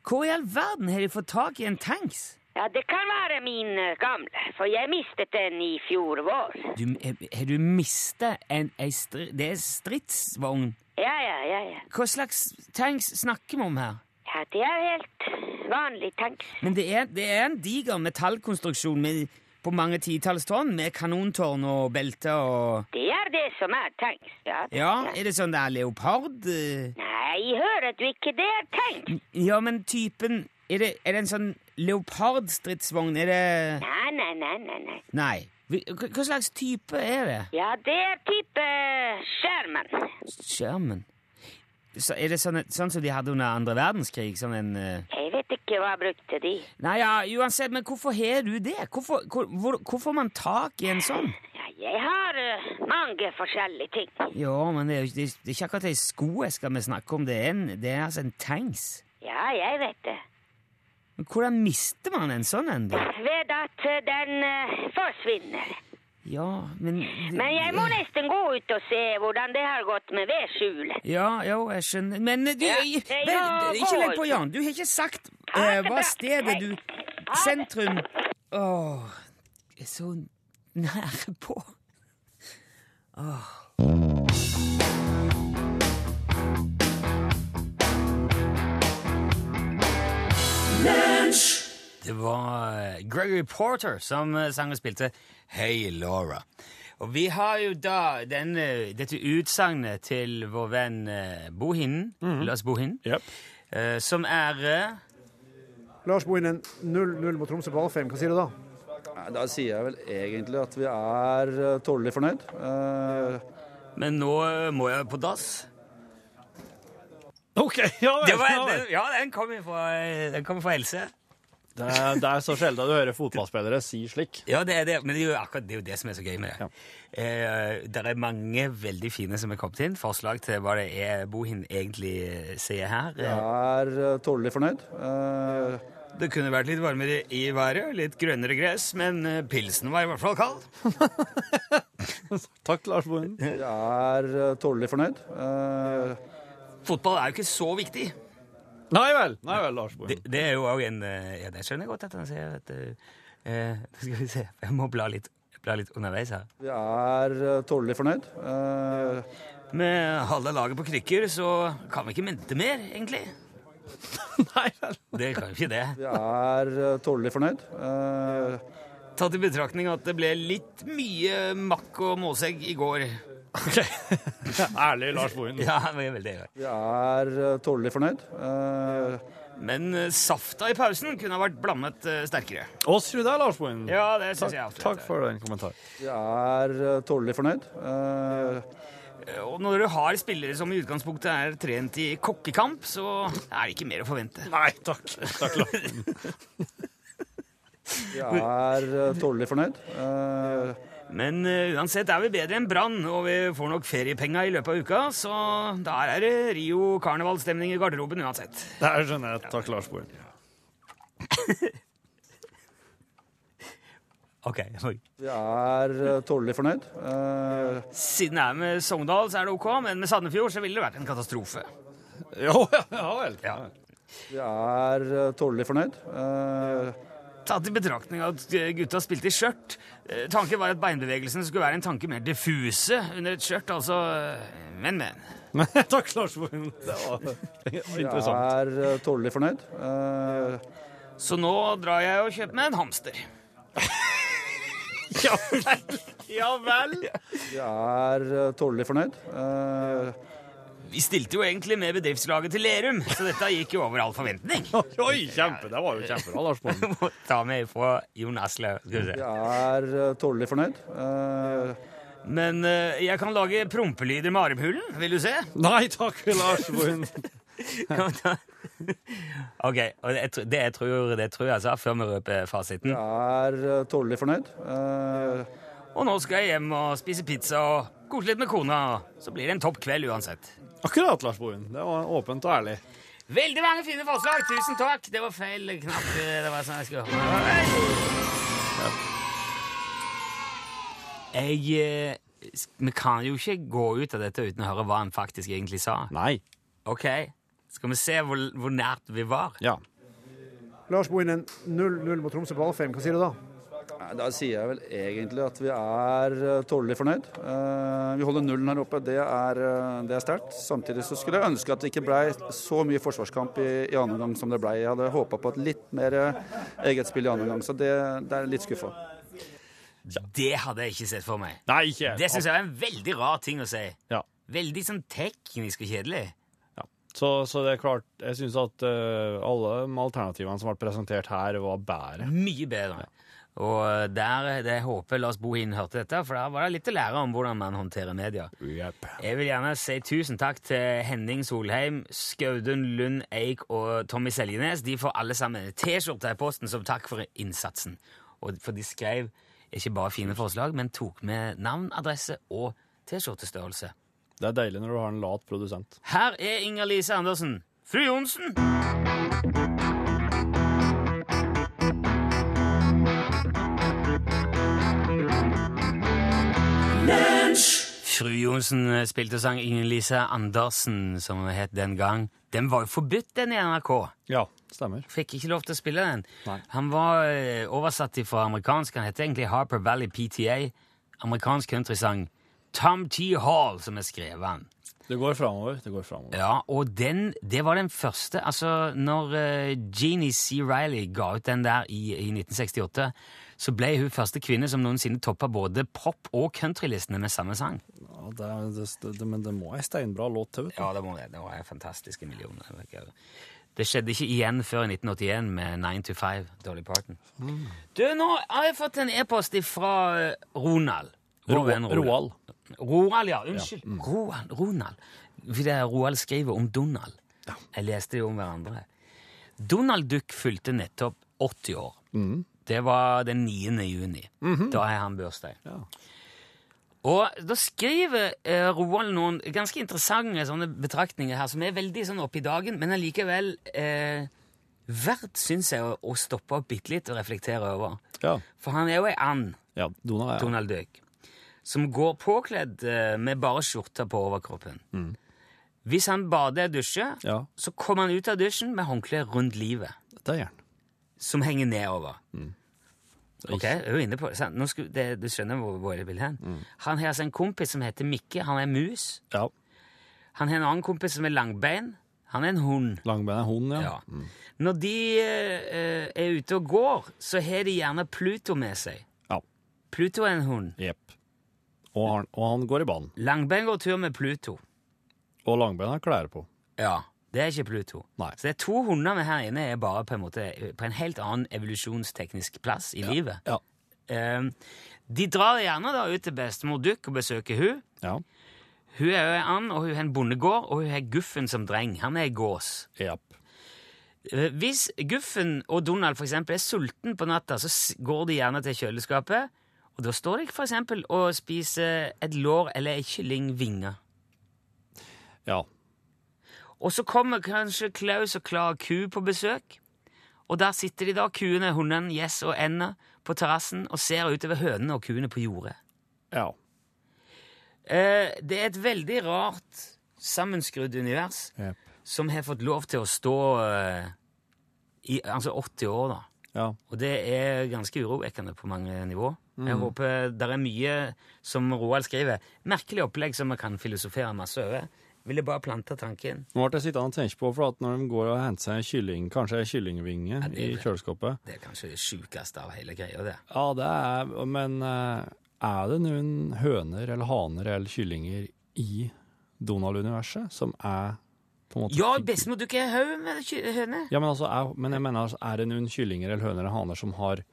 Speaker 2: Hvor i all verden har de fått tak i en tanks?
Speaker 9: Ja, det kan være min eh, gamle, for jeg mistet den i fjor vår.
Speaker 2: Du, har- har du mista en ei stri, Det er stridsvogn.
Speaker 9: Ja, ja, ja, ja.
Speaker 2: Hva slags tanks snakker vi om her?
Speaker 9: Ja, det er helt vanlig tanks.
Speaker 2: Men det er, det er en diger metallkonstruksjon med, på mange titalls tonn, med kanontårn og belte og
Speaker 9: Det er det som er tanks, ja.
Speaker 2: Ja, er det sånn det er leopard? eh?
Speaker 9: Nei, hører du ikke, det er tanks.
Speaker 2: Ja, men typen Er det, er det en sånn leopardstridsvogn? Er det
Speaker 9: Nei, nei, nei, nei, nei.
Speaker 2: Nei. Hvi- Hva hva slags type er det?
Speaker 9: Ja, det eh, er type skjermen.
Speaker 2: Skjermen? Så er det sånn, sånn som de hadde under andre verdenskrig? Som en eh,
Speaker 9: Jeg vet ikke hva brukte de.
Speaker 2: Nei ja, uansett, men hvorfor har du det? Hvorfor, hvor, hvor, hvor får man tak i en sånn?
Speaker 9: Ja, jeg har eh, mange forskjellige ting.
Speaker 2: Ja, men det er jo ikke, det er ikke akkurat ei skoeske vi snakker om, det er, en, det er altså en tanks.
Speaker 9: Ja, jeg vet det.
Speaker 2: Men hvordan mister man en sånn en, da?
Speaker 9: Ved at eh, den eh, forsvinner.
Speaker 2: Ja, men
Speaker 9: Men jeg må nesten gå ut og se hvordan det har gått med vedskjulet.
Speaker 2: Ja, jo, jeg skjønner Men eh, du,
Speaker 9: Ja,
Speaker 2: vel,
Speaker 9: det gjør
Speaker 2: ikke legg på,
Speaker 9: godt.
Speaker 2: Jan. Du har ikke sagt
Speaker 9: Ha
Speaker 2: eh,
Speaker 9: det
Speaker 2: hva
Speaker 9: bra.
Speaker 2: stedet
Speaker 9: Hei.
Speaker 2: du
Speaker 9: det.
Speaker 2: Sentrum Åh, jeg er så nære på. Det var eh, Gregory Porter som eh, sang og spilte Hey Laura. Og vi har jo da den, eh, dette utsagnet til vår venn eh, Bohinen, Lars Bohinen,
Speaker 3: Jep.
Speaker 2: eh, som er eh,
Speaker 7: Lars Bohinen 0-0 mot Tromsø på Alfheim, hva sier du da?
Speaker 8: Ja, Nei, Da sier jeg vel egentlig at vi er eh, tålelig fornøyd. Eh,
Speaker 2: Men nå eh, må jeg på dass.
Speaker 3: OK, ja vel.
Speaker 2: Det var,
Speaker 3: ja vel.
Speaker 2: den, ja, den kom fra, eh, den kom fra Else.
Speaker 3: Det er, det er så sjelden du hører fotballspillere si slik.
Speaker 2: Ja, det er det, men det er jo akkurat det, er jo det som er så gøy med det. Eh, det er mange veldig fine som er kommet inn. Forslag til hva det er Bohin egentlig eh, sier her.
Speaker 8: vi er eh, tålelig fornøyd. Eh,
Speaker 2: Det kunne vært litt varmere i været, litt grønnere gress, men eh, pilsen var i hvert fall kald.
Speaker 3: Takk, Lars Bohin.
Speaker 8: vi er eh, tålelig fornøyd. Eh,
Speaker 2: Fotball er jo ikke så viktig.
Speaker 3: Nei vel, nei vel, Lars
Speaker 2: Det,
Speaker 3: Bohin.
Speaker 2: det er jo òg en eh, Ja, det skjønner jeg godt at han sier. At, eh, eh, [laughs] skal vi se, jeg må bla litt, bla litt underveis her.
Speaker 8: vi er eh, tålelig fornøyd. Eh,
Speaker 2: Med halve laget på krykker så kan vi ikke vente mer, egentlig.
Speaker 3: Nei vel.
Speaker 2: Det kan jo ikke det.
Speaker 8: vi er eh, tålelig fornøyd. Eh,
Speaker 2: Tatt i betraktning at det ble litt mye makk og måsegg i går.
Speaker 3: Ærlig, Lars Bohin.
Speaker 2: Ja, det var veldig gøy.
Speaker 8: vi er eh, tålelig fornøyd. Eh,
Speaker 2: Men eh, safta i pausen kunne ha vært blandet eh, sterkere.
Speaker 3: Å, sier du det, Lars Bohin?
Speaker 2: Ja, det syns
Speaker 3: Takk,
Speaker 2: jeg. absolutt.
Speaker 3: takk for den kommentaren.
Speaker 8: vi er eh, tålelig fornøyd. Eh,
Speaker 2: Og når du har spillere som i utgangspunktet er trent i kokkekamp, så er det ikke mer å forvente.
Speaker 3: Nei, takk. Takk, Lars.
Speaker 8: vi er eh, tålelig fornøyd. Eh,
Speaker 2: Men eh, uansett er vi bedre enn Brann, og vi får nok feriepenger i løpet av uka, så der er det Rio karnevalstemning i garderoben uansett.
Speaker 3: Det her skjønner jeg. Takk, Lars Bohin.
Speaker 2: Ok,
Speaker 8: Vi er eh, tålelig fornøyd. Eh,
Speaker 2: Siden det er med Sogndal, så er det ok, men med Sandefjord så ville det vært en katastrofe.
Speaker 3: Jo, ja, ja vel.
Speaker 2: Ja.
Speaker 8: Vi er eh, tålelig fornøyd. Eh,
Speaker 2: Tatt i betraktning at gutta spilte i skjørt. eh, Tanken var at beinbevegelsene skulle være en tanke mer diffuse under et skjørt, altså eh, Men, men.
Speaker 3: Nei, [laughs] takk, Lars Bohin. Det var
Speaker 8: Vi
Speaker 3: interessant.
Speaker 8: er eh, tålelig fornøyd. Eh,
Speaker 2: Så nå drar jeg og kjøper meg en hamster.
Speaker 3: Ja vel. Ja vel.
Speaker 8: Vi er eh, tålelig fornøyd. Eh,
Speaker 2: Vi stilte jo egentlig med bedriftslaget til Lerum, så dette gikk jo over all [laughs] forventning.
Speaker 3: Oi, kjempe. Det var jo kjempebra, Lars Bohin.
Speaker 2: Må Ta med fra Jon Asle. Skal vi
Speaker 8: Vi
Speaker 2: se.
Speaker 8: er eh, tålelig fornøyd. Eh,
Speaker 2: Men eh, jeg kan lage prompelyder med armhulen. Vil du se?
Speaker 3: [laughs] Nei takk, Lars Bohin.
Speaker 2: Kan vi ta- OK. Og jeg tr- det, jeg tror, det tror jeg sa før vi røper fasiten.
Speaker 8: Vi er eh, tålelig fornøyd. Eh,
Speaker 2: Og nå skal jeg hjem og spise pizza og kose litt med kona. og Så blir det en topp kveld uansett.
Speaker 3: Akkurat, Lars Bohin. Det var åpent og ærlig.
Speaker 2: Veldig mange fine forslag. Tusen takk. Det var feil knapp. Det var sånn jeg skulle Jeg eh, s- Vi kan jo ikke gå ut av dette uten å høre hva han faktisk egentlig sa.
Speaker 3: Nei.
Speaker 2: Ok, Skal vi se hvor, hvor nært vi var?
Speaker 3: Ja.
Speaker 7: Lars Bohinen 0-0 mot Tromsø på Alfheim. Hva sier du da?
Speaker 8: nei, Da sier jeg vel egentlig at vi er eh, tålelig fornøyd. Eh, Vi holder nullen her oppe. Det er, eh, det er sterkt. Samtidig så skulle jeg ønske at det ikke blei så mye forsvarskamp i, i andre omgang som det blei. Jeg hadde håpa på et litt mer eh, eget spill i andre omgang, så det, det er litt skuffa.
Speaker 2: Det hadde jeg ikke sett for meg.
Speaker 3: Nei, ikke
Speaker 2: Det syns jeg var en veldig rar ting å si.
Speaker 3: Ja.
Speaker 2: Veldig sånn teknisk og kjedelig.
Speaker 3: Ja. Så, så det er klart, jeg syns at eh, alle alternativene som ble presentert her, var bedre.
Speaker 2: Mye bedre. Og der, det håper Lars Bohin hørte dette, for der var det litt å lære om hvordan man håndterer media. Jeg vil gjerne si tusen takk til Henning Solheim, Skaudun Lund Eik og Tommy Seljenes. De får alle sammen en T-skjorte i posten som takk for innsatsen. Og for de skrev ikke bare fine forslag, men tok med navn, adresse og T-skjortestørrelse.
Speaker 3: Det er deilig når du har en lat produsent.
Speaker 2: Her er Inger-Lise Andersen. Fru Johnsen! Fru Johnsen eh, spilte og sang Inger-Lise Andersen, som hun het den gang. Den var jo forbudt, den i NRK.
Speaker 3: Ja, stemmer.
Speaker 2: Fikk ikke lov til å spille den.
Speaker 3: Nei.
Speaker 2: Han var eh, oversatt fra amerikansk. Han heter egentlig Harper Valley PTA. Amerikansk countrysang. Tom T. Hall, som er skrevet han.
Speaker 3: Det går framover. Det går framover.
Speaker 2: Ja, og den, det var den første. Altså, når eh, Jeannie C. Riley ga ut den der i, i 1968, så ble hun første kvinne som noensinne toppa både pop- og countrylistene med samme sang.
Speaker 3: Ja, det, er- det, det, men det må ei steinbra låt til, vet du. eh,
Speaker 2: Ja, det må jeg. Det var en fantastiske millioner. Det skjedde ikke igjen før i 1981 med 9 to 5, Dolly Parton.
Speaker 3: Mm.
Speaker 2: Du, nå har jeg fått en e-post fra eh, Ronald. Vår venn
Speaker 3: Roald.
Speaker 2: Roald, ja. Unnskyld. Roald, Ronald. For det er Roald skriver om Donald. Jeg leste jo om hverandre. Donald Duck fylte nettopp 80 år. Det var den 9. juni. Da har han bursdag. Og da skriver eh, Roald noen ganske interessante sånne betraktninger her, som er veldig sånn oppe i dagen, men allikevel eh, verdt, syns jeg, å, å stoppe opp bitte litt og reflektere over.
Speaker 3: Ja.
Speaker 2: For han er jo ei and.
Speaker 3: ja Donald er
Speaker 2: Donald Duck, som går påkledd eh, med bare skjorta på overkroppen. Hvis han bader og dusjer,
Speaker 3: Mm. Ja,
Speaker 2: så kommer han ut av dusjen med håndkle rundt livet,
Speaker 3: det er han.
Speaker 2: som henger nedover.
Speaker 3: Mm.
Speaker 2: Ok, jeg er jo inne på det, sant? Nå skulle, det. Du skjønner hvor, hvor jeg vil hen.
Speaker 3: Mm.
Speaker 2: Han har altså en kompis som heter Mikke, han er mus.
Speaker 3: Ja.
Speaker 2: Han har en annen kompis som er langbein, han er en hund.
Speaker 3: Langbein er hunden, ja. Mm.
Speaker 2: Ja. Når de eh, er ute og går, så har de gjerne Pluto med seg.
Speaker 3: Ja.
Speaker 2: Pluto er en hund.
Speaker 3: Jepp. Og, han- og han går i banen.
Speaker 2: Langbein går tur med Pluto.
Speaker 3: Og langbein har klær på.
Speaker 2: Ja, det er ikke Pluto.
Speaker 3: Nei.
Speaker 2: Så det er to hunder med her inne er bare på en måte på en helt annen evolusjonsteknisk plass i livet.
Speaker 3: Ja.
Speaker 2: Ehm, de drar gjerne da ut til bestemor Duck og besøker hun.
Speaker 3: Ja.
Speaker 2: Hun er jo en and, og hun har en bondegård, og hun har Guffen som dreng. Han er gås.
Speaker 3: Jepp.
Speaker 2: Eh, Hvis Guffen og Donald for eksempel er sulten på natta, så s- går de gjerne til kjøleskapet, og da står de for eksempel og spiser et lår eller en kyllingvinge.
Speaker 3: Ja.
Speaker 2: Og så kommer kanskje Klaus og Klar Ku på besøk. Og der sitter de da, kuene, hunden, Jess og Enna, på terrassen og ser utover hønene og kuene på jordet.
Speaker 3: Ja.
Speaker 2: Eh, det er et veldig rart sammenskrudd univers
Speaker 3: Jepp.
Speaker 2: som har fått lov til å stå eh, i altså 80 år, da.
Speaker 3: Ja.
Speaker 2: Og det er ganske urovekkende på mange nivå. Jeg håper det er mye, som Roald skriver, merkelig opplegg som vi kan filosofere masse over. Ville bare plante tanken.
Speaker 3: Nå ble jeg sittende og tenke på, for at når de går og henter seg en kylling, kanskje en kyllingvinge
Speaker 2: det
Speaker 3: i
Speaker 2: er-
Speaker 3: kjøleskapet
Speaker 2: Det er kanskje det sjukeste av hele greia, det.
Speaker 3: Ja, det er Men eh, er det noen høner eller haner eller kyllinger i Donald-universet som er på en måte
Speaker 2: Ja,
Speaker 3: fig-
Speaker 2: bestemor, du ikke er haug med ky- høne.
Speaker 3: Ja, men, altså, er, men jeg mener, altså, er det noen kyllinger eller høner eller haner som har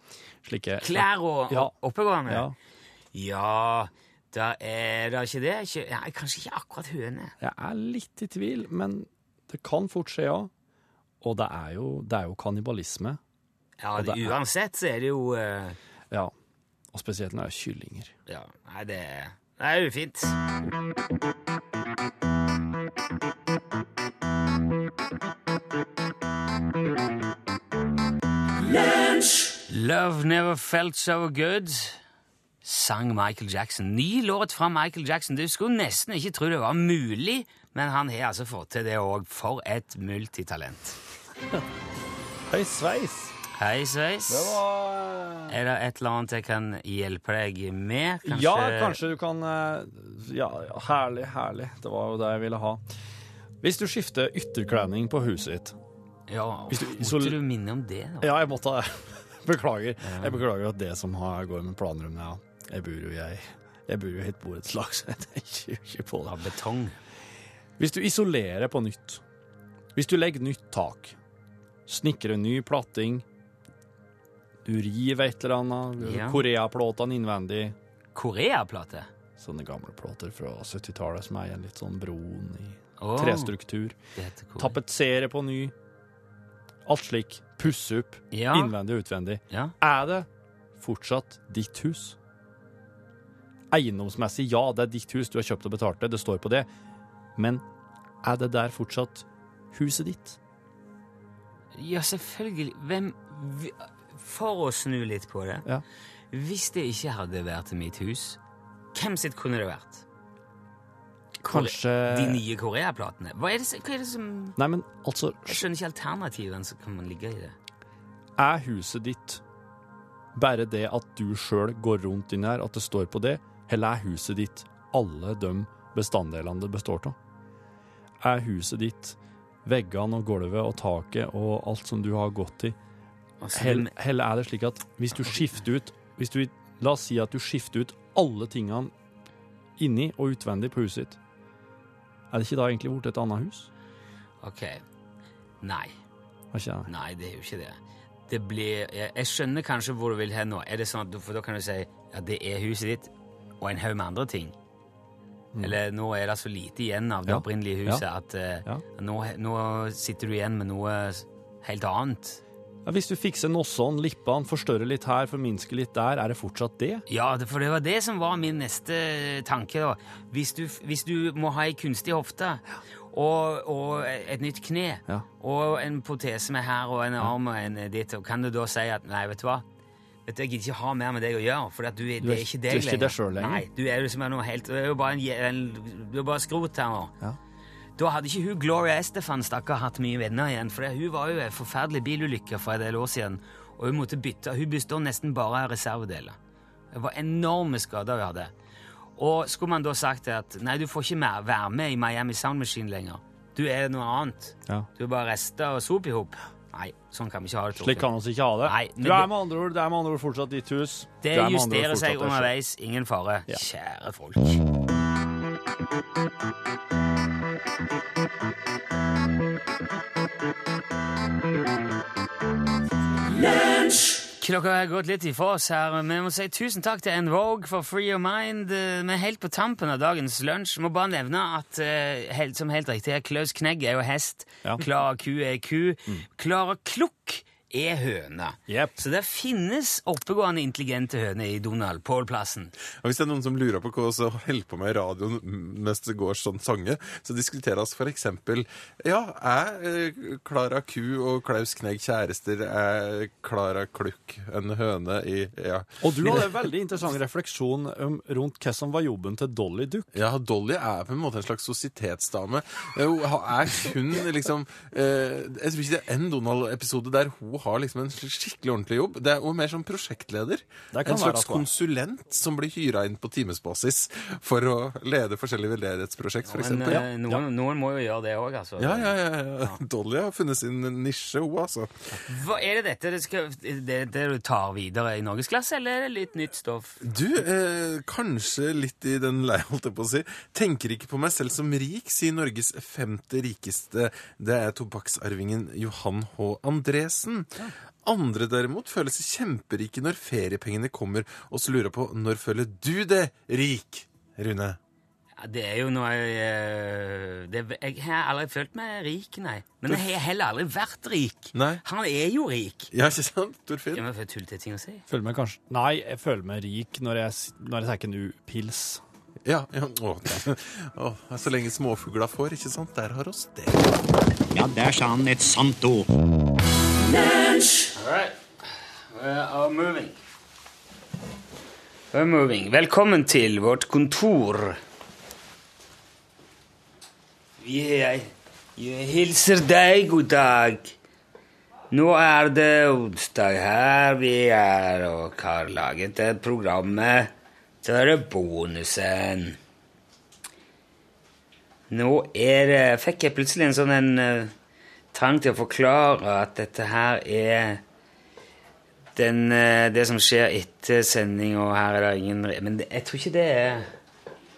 Speaker 3: slike
Speaker 2: Klær og
Speaker 3: Ja.
Speaker 2: og oppegående.
Speaker 3: Ja.
Speaker 2: Ja, da er det ikke det. Kjø- ja, kanskje ikke akkurat høne.
Speaker 3: Jeg er litt i tvil, men det kan fort skje, ja. Og det er jo, det er jo kannibalisme.
Speaker 2: Ja,
Speaker 3: Og det er-
Speaker 2: Uansett så er det jo eh,
Speaker 3: Ja. Og spesielt når det er kyllinger.
Speaker 2: Ja, nei, det, det er ufint. Love never felt so good, sang Michael Jackson. Ny låt fra Michael Jackson. Du skulle nesten ikke tro det var mulig, men han har altså fått til det òg. For et multitalent.
Speaker 3: Hei, sveis!
Speaker 2: Hei, sveis. Er det et eller annet jeg kan hjelpe deg med? Kanskje...
Speaker 3: Ja, kanskje du kan eh, Ja, ja, herlig, herlig. Det var jo det jeg ville ha. Hvis du skifter ytterkledning på huset ditt
Speaker 2: Ja,
Speaker 3: Hvis du-
Speaker 2: måtte
Speaker 3: så-
Speaker 2: du minne om det? Da?
Speaker 3: Ja, jeg måtte det. [laughs] Beklager. Jeg beklager at det som har, går med planrommet, ja. Jeg bor jo jeg jeg bor jo i et borettslag, [laughs] så jeg tenker jo ikke på det.
Speaker 2: Av betong.
Speaker 3: Hvis du isolerer på nytt, hvis du legger nytt tak, snikrer ny platting, du river et eller annet,
Speaker 2: Ja.
Speaker 3: koreaplåtene innvendig,
Speaker 2: Koreaplate?
Speaker 3: sånne gamle plater fra 70-tallet som er igjen litt sånn broen i
Speaker 2: Åh,
Speaker 3: trestruktur,
Speaker 2: det heter Korea.
Speaker 3: tapetsere på ny, alt slik, pusse opp,
Speaker 2: Ja,
Speaker 3: innvendig og utvendig.
Speaker 2: ja.
Speaker 3: Er det fortsatt ditt hus? Eiendomsmessig, ja, det er ditt hus, du har kjøpt og betalt det, det står på det. Men er det der fortsatt huset ditt?
Speaker 2: ja, selvfølgelig. Hvem vi- For å snu litt på det.
Speaker 3: Ja.
Speaker 2: Hvis det ikke hadde vært mitt hus, hvem sitt kunne det vært? Kore-
Speaker 3: Kanskje eh,
Speaker 2: De nye koreaplatene? Hva er det, som- hva er det som
Speaker 3: Nei, men altså,
Speaker 2: Jeg skjønner ikke alternativene som kan ligge i det.
Speaker 3: er huset ditt bare det at du sjøl går rundt inn her, at det står på det, eller er huset ditt alle de bestanddelene det består av? Er huset ditt veggene og gulvet og taket og alt som du har gått i,
Speaker 2: Altså,
Speaker 3: Hell,
Speaker 2: du-
Speaker 3: hell er det slik at hvis du skifter ut hvis du, La oss si at du skifter ut alle tingene inni og utvendig på huset ditt. Er det ikke da egentlig blitt et annet hus?
Speaker 2: Ok. Nei.
Speaker 3: Har ikke det?
Speaker 2: Nei, det er jo ikke det. Det blir Jeg, jeg skjønner kanskje hvor du vil hen nå. Er det sånn at du, For da kan du si ja, det er huset ditt og en haug med andre ting. Eller nå er det så lite igjen av det
Speaker 3: Mm. Ja.
Speaker 2: opprinnelige
Speaker 3: Ja.
Speaker 2: huset at eh,
Speaker 3: Ja.
Speaker 2: nå, nå sitter du igjen med noe helt annet.
Speaker 3: Ja, hvis du fikser nossene, lippene, forstørrer litt her, forminsker litt der, er det fortsatt det?
Speaker 2: Ja, det- for det var det som var min neste tanke. da. Hvis du, hvis du må ha ei kunstig hofte og, og et nytt kne
Speaker 3: Ja.
Speaker 2: og en protese med her og en arm og en ditt, og kan du da si at nei, vet du hva Vet du, Jeg gidder ikke ha mer med deg å gjøre, for at du, er- det er
Speaker 3: ikke-
Speaker 2: ikke
Speaker 3: du er
Speaker 2: deg
Speaker 3: ikke deg selv lenger.
Speaker 2: Nei, du er liksom noe helt, du er jo bare, en, je- en, du er bare skrot her nå. Da hadde ikke hun Gloria Estefan stakkar hatt mye venner igjen, for hun var jo i en forferdelig bilulykke for en del år siden, og hun måtte bytte. Hun består nesten bare av reservedeler. Det var enorme skader hun hadde. Og skulle man da sagt at nei, du får ikke mer være med i Miami Sound Machine lenger. Du er noe annet.
Speaker 3: Ja.
Speaker 2: Du er bare rester og sop i hop. Nei, sånn kan vi ikke ha det. Torfinn.
Speaker 3: Slik kan vi ikke ha det.
Speaker 2: Nei, men
Speaker 3: du er
Speaker 2: det-
Speaker 3: med andre ord, det er med andre ord fortsatt ditt hus.
Speaker 2: Det
Speaker 3: Du er med andre ord
Speaker 2: justerer
Speaker 3: fortsatt
Speaker 2: seg
Speaker 3: deg selv.
Speaker 2: underveis. Ingen fare.
Speaker 3: Ja.
Speaker 2: Kjære folk. Klokka har gått litt ifra oss her, men vi må si tusen takk til En Vogue for Free Your Mind. Eh, Vi er helt på tampen av dagens lunsj. Må bare nevne at eh, helt, som helt riktig er Klaus Knegg er jo hest, E
Speaker 3: Ja. Mm.
Speaker 2: Klara Ku er ku, Klara Klukk er høne.
Speaker 3: Jepp.
Speaker 2: Så det finnes oppegående intelligente høner i Donald Paul-plassen.
Speaker 10: Og Hvis det er noen som lurer på hva som holder på med i radioen mens det går sånn sange, så diskuteres for eksempel Ja, er Klara Ku og Klaus Knegg kjærester? Er Klara Klukk en høne i Ja,
Speaker 3: Og du hadde en veldig interessant refleksjon um, rundt hva som var jobben til Dolly Duck.
Speaker 10: ja Dolly er på en måte en slags sosietetsdame. Eh, Hun har- er kun liksom eh, Jeg tror ikke det er en Donald-episode der hun har liksom en sl- skikkelig ordentlig jobb. Det er hun er mer som prosjektleder.
Speaker 3: Det kan
Speaker 10: En
Speaker 3: være at hun
Speaker 10: slags
Speaker 3: er.
Speaker 10: konsulent som blir hyra inn på timesbasis for å lede forskjellige veldedighetsprosjekt, f.eks.
Speaker 2: Men eh, noen, noen må jo gjøre det òg, altså.
Speaker 10: Ja, ja, ja, ja. Dolly har funnet sin nisje, hun, altså.
Speaker 2: Hva er det dette det, skal, det, det du tar videre i norgesklasse, eller er det litt nytt stoff?
Speaker 10: Du, eh, kanskje litt i den lei, holdt jeg på å si. Tenker ikke på meg selv som rik, sier Norges femte rikeste. Det er tobakksarvingen Johan H. Andresen. Andre derimot føler seg kjemperike når feriepengene kommer, og så lurer jeg på når føler du det rik, Rune?
Speaker 2: Ja, Det er jo noe eh, det, Jeg har aldri følt meg rik, nei. Men jeg har heller aldri vært rik.
Speaker 10: Nei.
Speaker 2: Han er jo rik.
Speaker 10: Ja, ikke sant, Torfinn?
Speaker 2: Ja, men for tullete ting å si.
Speaker 3: Føler meg kanskje Nei, jeg føler meg rik når jeg, s- når jeg tenker nu pils.
Speaker 10: Ja. ja. Å, å, så lenge småfugla får, ikke sant? Der har oss det.
Speaker 11: Ja, der sa han et sant ord.
Speaker 2: We're moving. Velkommen til vårt kontor. Jeg, jeg hilser deg god dag. Nå er det onsdag her vi er og har laget det programmet. Så er det bonusen. Nå er det, fikk jeg plutselig en sånn en, eh, trang til å forklare at dette her er den, eh, det som skjer etter sending, og her er det ingen re- Men det- jeg tror ikke det er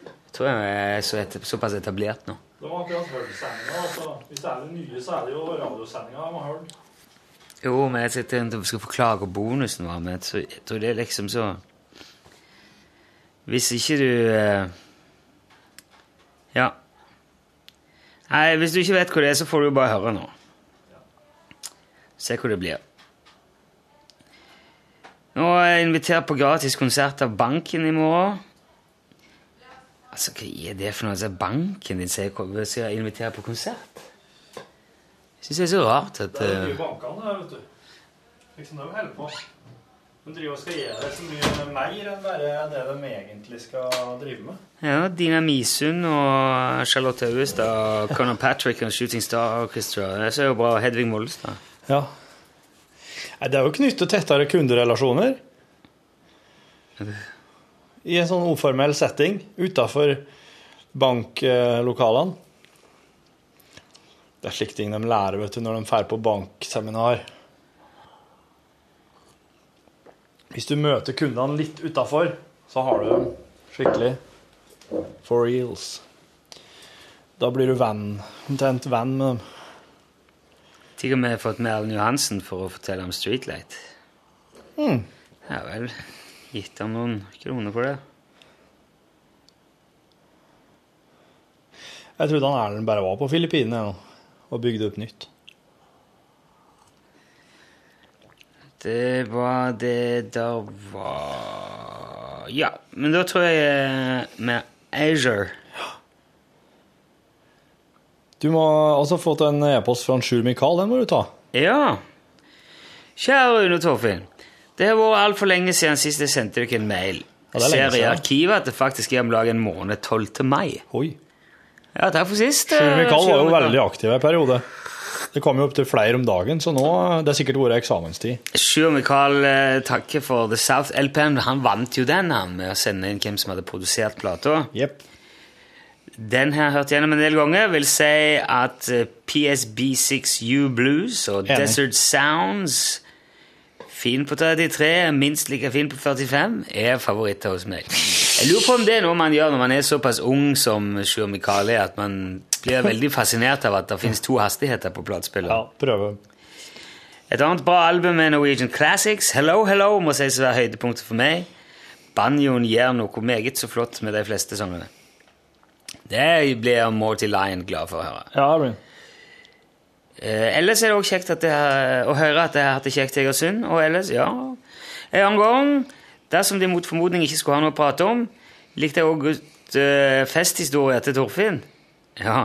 Speaker 2: Jeg tror jeg er så et, såpass etablert nå.
Speaker 3: De har akkurat hørt sendinga. Altså. Hvis det er det nye, så er det jo radiosendinga de har hørt.
Speaker 2: Jo, men jeg sitter rundt og skal forklare hva bonusen var, men jeg tror, jeg tror det er liksom så Hvis ikke du eh, Ja. Nei, hvis du ikke vet hva det er, så får du jo bare høre nå. Se hvor det blir. Nå er jeg invitert på gratis konsert av banken i morgen. Altså, hva er det for noe? Altså, banken din sier hva- skal jeg invitere på konsert? Jeg syns det er så rart at eh,
Speaker 3: bankene her, vet du. Liksom de holder på. De driver og skal gjøre så mye mer enn bare det de egentlig skal drive med.
Speaker 2: Ja, Dina Misund og Charlotte Auestad og Conor Patrick og Shooting Star Orchestra. Det ser jo bra Hedvig Mollestad.
Speaker 12: Ja. Nei, det er jo knyttet tettere kunderelasjoner. I en sånn uformell setting utafor banklokalene. Det er slike ting de lærer vet du, når de drar på bankseminar. Hvis du møter kundene litt utafor, så har du dem skikkelig for reals. Da blir du venn, omtrent venn med dem.
Speaker 2: Til og med fått med Erlend Johansen for å fortelle om Streetlight.
Speaker 13: Mm.
Speaker 2: Ja vel. Gitt ham noen kroner for det.
Speaker 14: Jeg trodde han Erlend bare var på Filippinene jeg, nå, og bygde opp nytt.
Speaker 2: Det var det der var Ja, men da tror jeg eh, med Azure
Speaker 14: Du må også få til en e-post fra en Sjur Mikael, den må du ta.
Speaker 2: Ja. Kjære Rune Torfinn. Det har vært altfor lenge siden sist jeg sendte dere en mail.
Speaker 14: Ja,
Speaker 2: Jeg
Speaker 14: det er lenge
Speaker 2: ser i
Speaker 14: siden.
Speaker 2: arkivet at det faktisk er om lag en måned 12. mai. Ja, takk for sist. eh,
Speaker 14: Sjur Mikael var jo veldig
Speaker 2: aktiv.
Speaker 14: aktiv en periode. Det kom jo opptil flere om dagen, så nå det er sikkert vært eksamenstid.
Speaker 2: Sjur Mikael eh, takker for The South LPM. Han vant jo den han med å sende inn hvem som hadde produsert plata. Den har jeg hørt gjennom en del ganger. Vil si at eh, PSB6U Blues og
Speaker 15: Enig.
Speaker 2: Desert Sounds Fin på 33, minst like fin på 45 er favoritter hos meg. Jeg lurer på om det er noe man gjør når man er såpass ung som Sjur Mikael er, at man blir veldig fascinert av at det finnes to hastigheter på platespilleren.
Speaker 14: Prøve.
Speaker 2: Et annet bra album er Norwegian Classics. Hello, hello må sies å være høydepunktet for meg. Banjoen gjør noe meget så flott med de fleste sangene. Det blir Morty Lion glad for å høre.
Speaker 14: Ja, Erlend.
Speaker 2: Eh, ellers er det også kjekt at jeg, har- å høre at jeg har hatt det kjekt i Egersund. Og ellers, ja En annen gang, dersom de mot formodning ikke skulle ha noe å prate om, likte jeg også godt eh, festhistorier til Torfinn. Ja.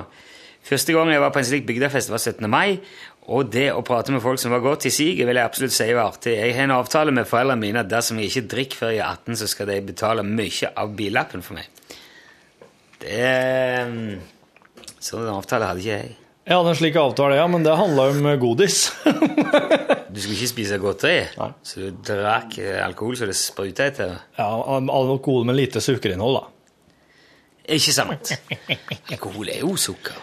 Speaker 2: Første gang jeg var på en slik bygdefest, var 17. mai. Og det å prate med folk som var godt i siget, vil jeg absolutt si var artig. Jeg har en avtale med foreldrene mine at dersom jeg ikke drikker før jeg er 18, så skal de betale mye av billappen for meg. Det Sånn en avtale hadde ikke jeg.
Speaker 14: Jeg hadde en slik avtale, ja, men det handla om eh, godis. [laughs]
Speaker 2: Du skulle ikke spise godteri, så du drakk eh, alkohol så det spruta etter.
Speaker 14: Ja, Alkohol med lite sukkerinnhold, da.
Speaker 2: Ikke sant? Alkohol er jo sukker.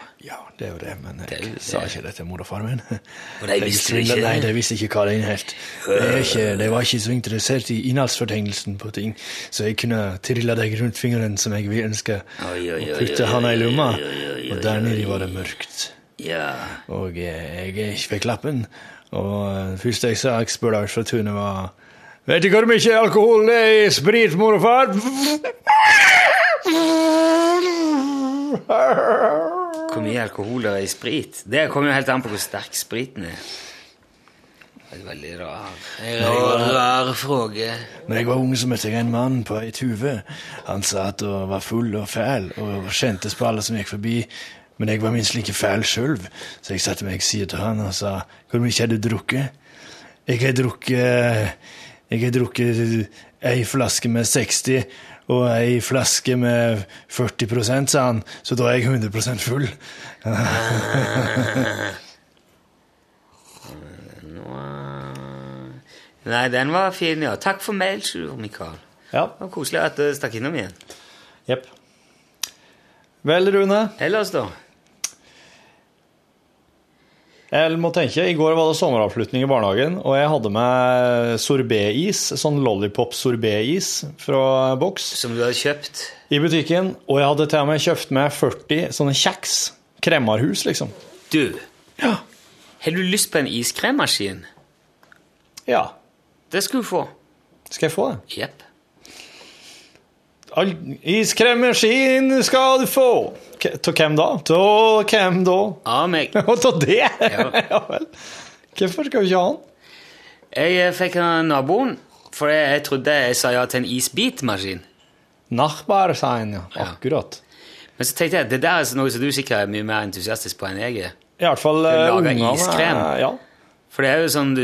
Speaker 14: Det er jo det, men jeg sa ikke det til mor og far [laughs] min.
Speaker 2: Og de visste det
Speaker 14: Jeg-
Speaker 2: ikke?
Speaker 14: Nei, de visste ikke hva det inneholdt. Det er ikke- De var ikke så interessert i innholdsfortegnelsen på ting, så jeg kunne trille deg rundt fingeren som jeg vil ønske, og putte handa i lomma, og der nede var det mørkt.
Speaker 2: Ja.
Speaker 14: Og eh, jeg fikk lappen, og eh, det første jeg sa jeg spurte Lars fra tunet var Vet du hvor mye alkohol det er i sprit, mor og far?
Speaker 2: Hvor mye alkohol det er i sprit? Det kommer jo helt an på hvor sterk spriten er. Det er veldig rar. Rar, rar fråge.
Speaker 14: Når jeg var ung, så møtte jeg en mann på ei tuve. Han sa at han var full og fæl, og kjentes på alle som gikk forbi. Men jeg var minst like fæl sjøl, så jeg satte meg i sida til han og sa Hvor mye har du drukket? Jeg har drukket Jeg har drukket ei flaske med 60 og ei flaske med 40 sa han, så da er jeg 100 full.
Speaker 2: Nå... Nei, den var fin, ja. Takk for mail, Sjur Mikael.
Speaker 14: Ja.
Speaker 2: Det var koselig at du stakk innom igjen.
Speaker 14: Jepp. Vel, Rune.
Speaker 2: Ellers, da?
Speaker 14: Jeg må tenke, I går var det sommeravslutning i barnehagen, og jeg hadde med sorbetis, sånn lollipop-sorbetis fra boks.
Speaker 2: Som du hadde kjøpt?
Speaker 14: I butikken. Og jeg hadde til og med kjøpt med 40 sånne kjeks. Kremmerhus, liksom.
Speaker 2: Du, har du lyst på en iskremmaskin?
Speaker 14: Ja.
Speaker 2: Det skal du få.
Speaker 14: Skal jeg få det?
Speaker 2: Jepp.
Speaker 14: All iskremmaskin skal du få! K- Til hvem da? Til hvem da? [laughs]
Speaker 2: Av meg.
Speaker 14: Og til det? [laughs] Ja vel. Hvorfor skal vi ikke ha den?
Speaker 2: Jeg eh, fikk av naboen, for jeg, jeg trodde jeg sa ja til en isbitmaskin.
Speaker 14: Nachbar, sa han, ja. Akkurat.
Speaker 2: Men så tenkte jeg det der er noe som du sikkert er mye mer entusiastisk på enn jeg er.
Speaker 14: I hvert fall
Speaker 2: Du
Speaker 14: eh,
Speaker 2: lager
Speaker 14: ungene,
Speaker 2: iskrem.
Speaker 14: eh, Ja.
Speaker 2: For det er jo sånn du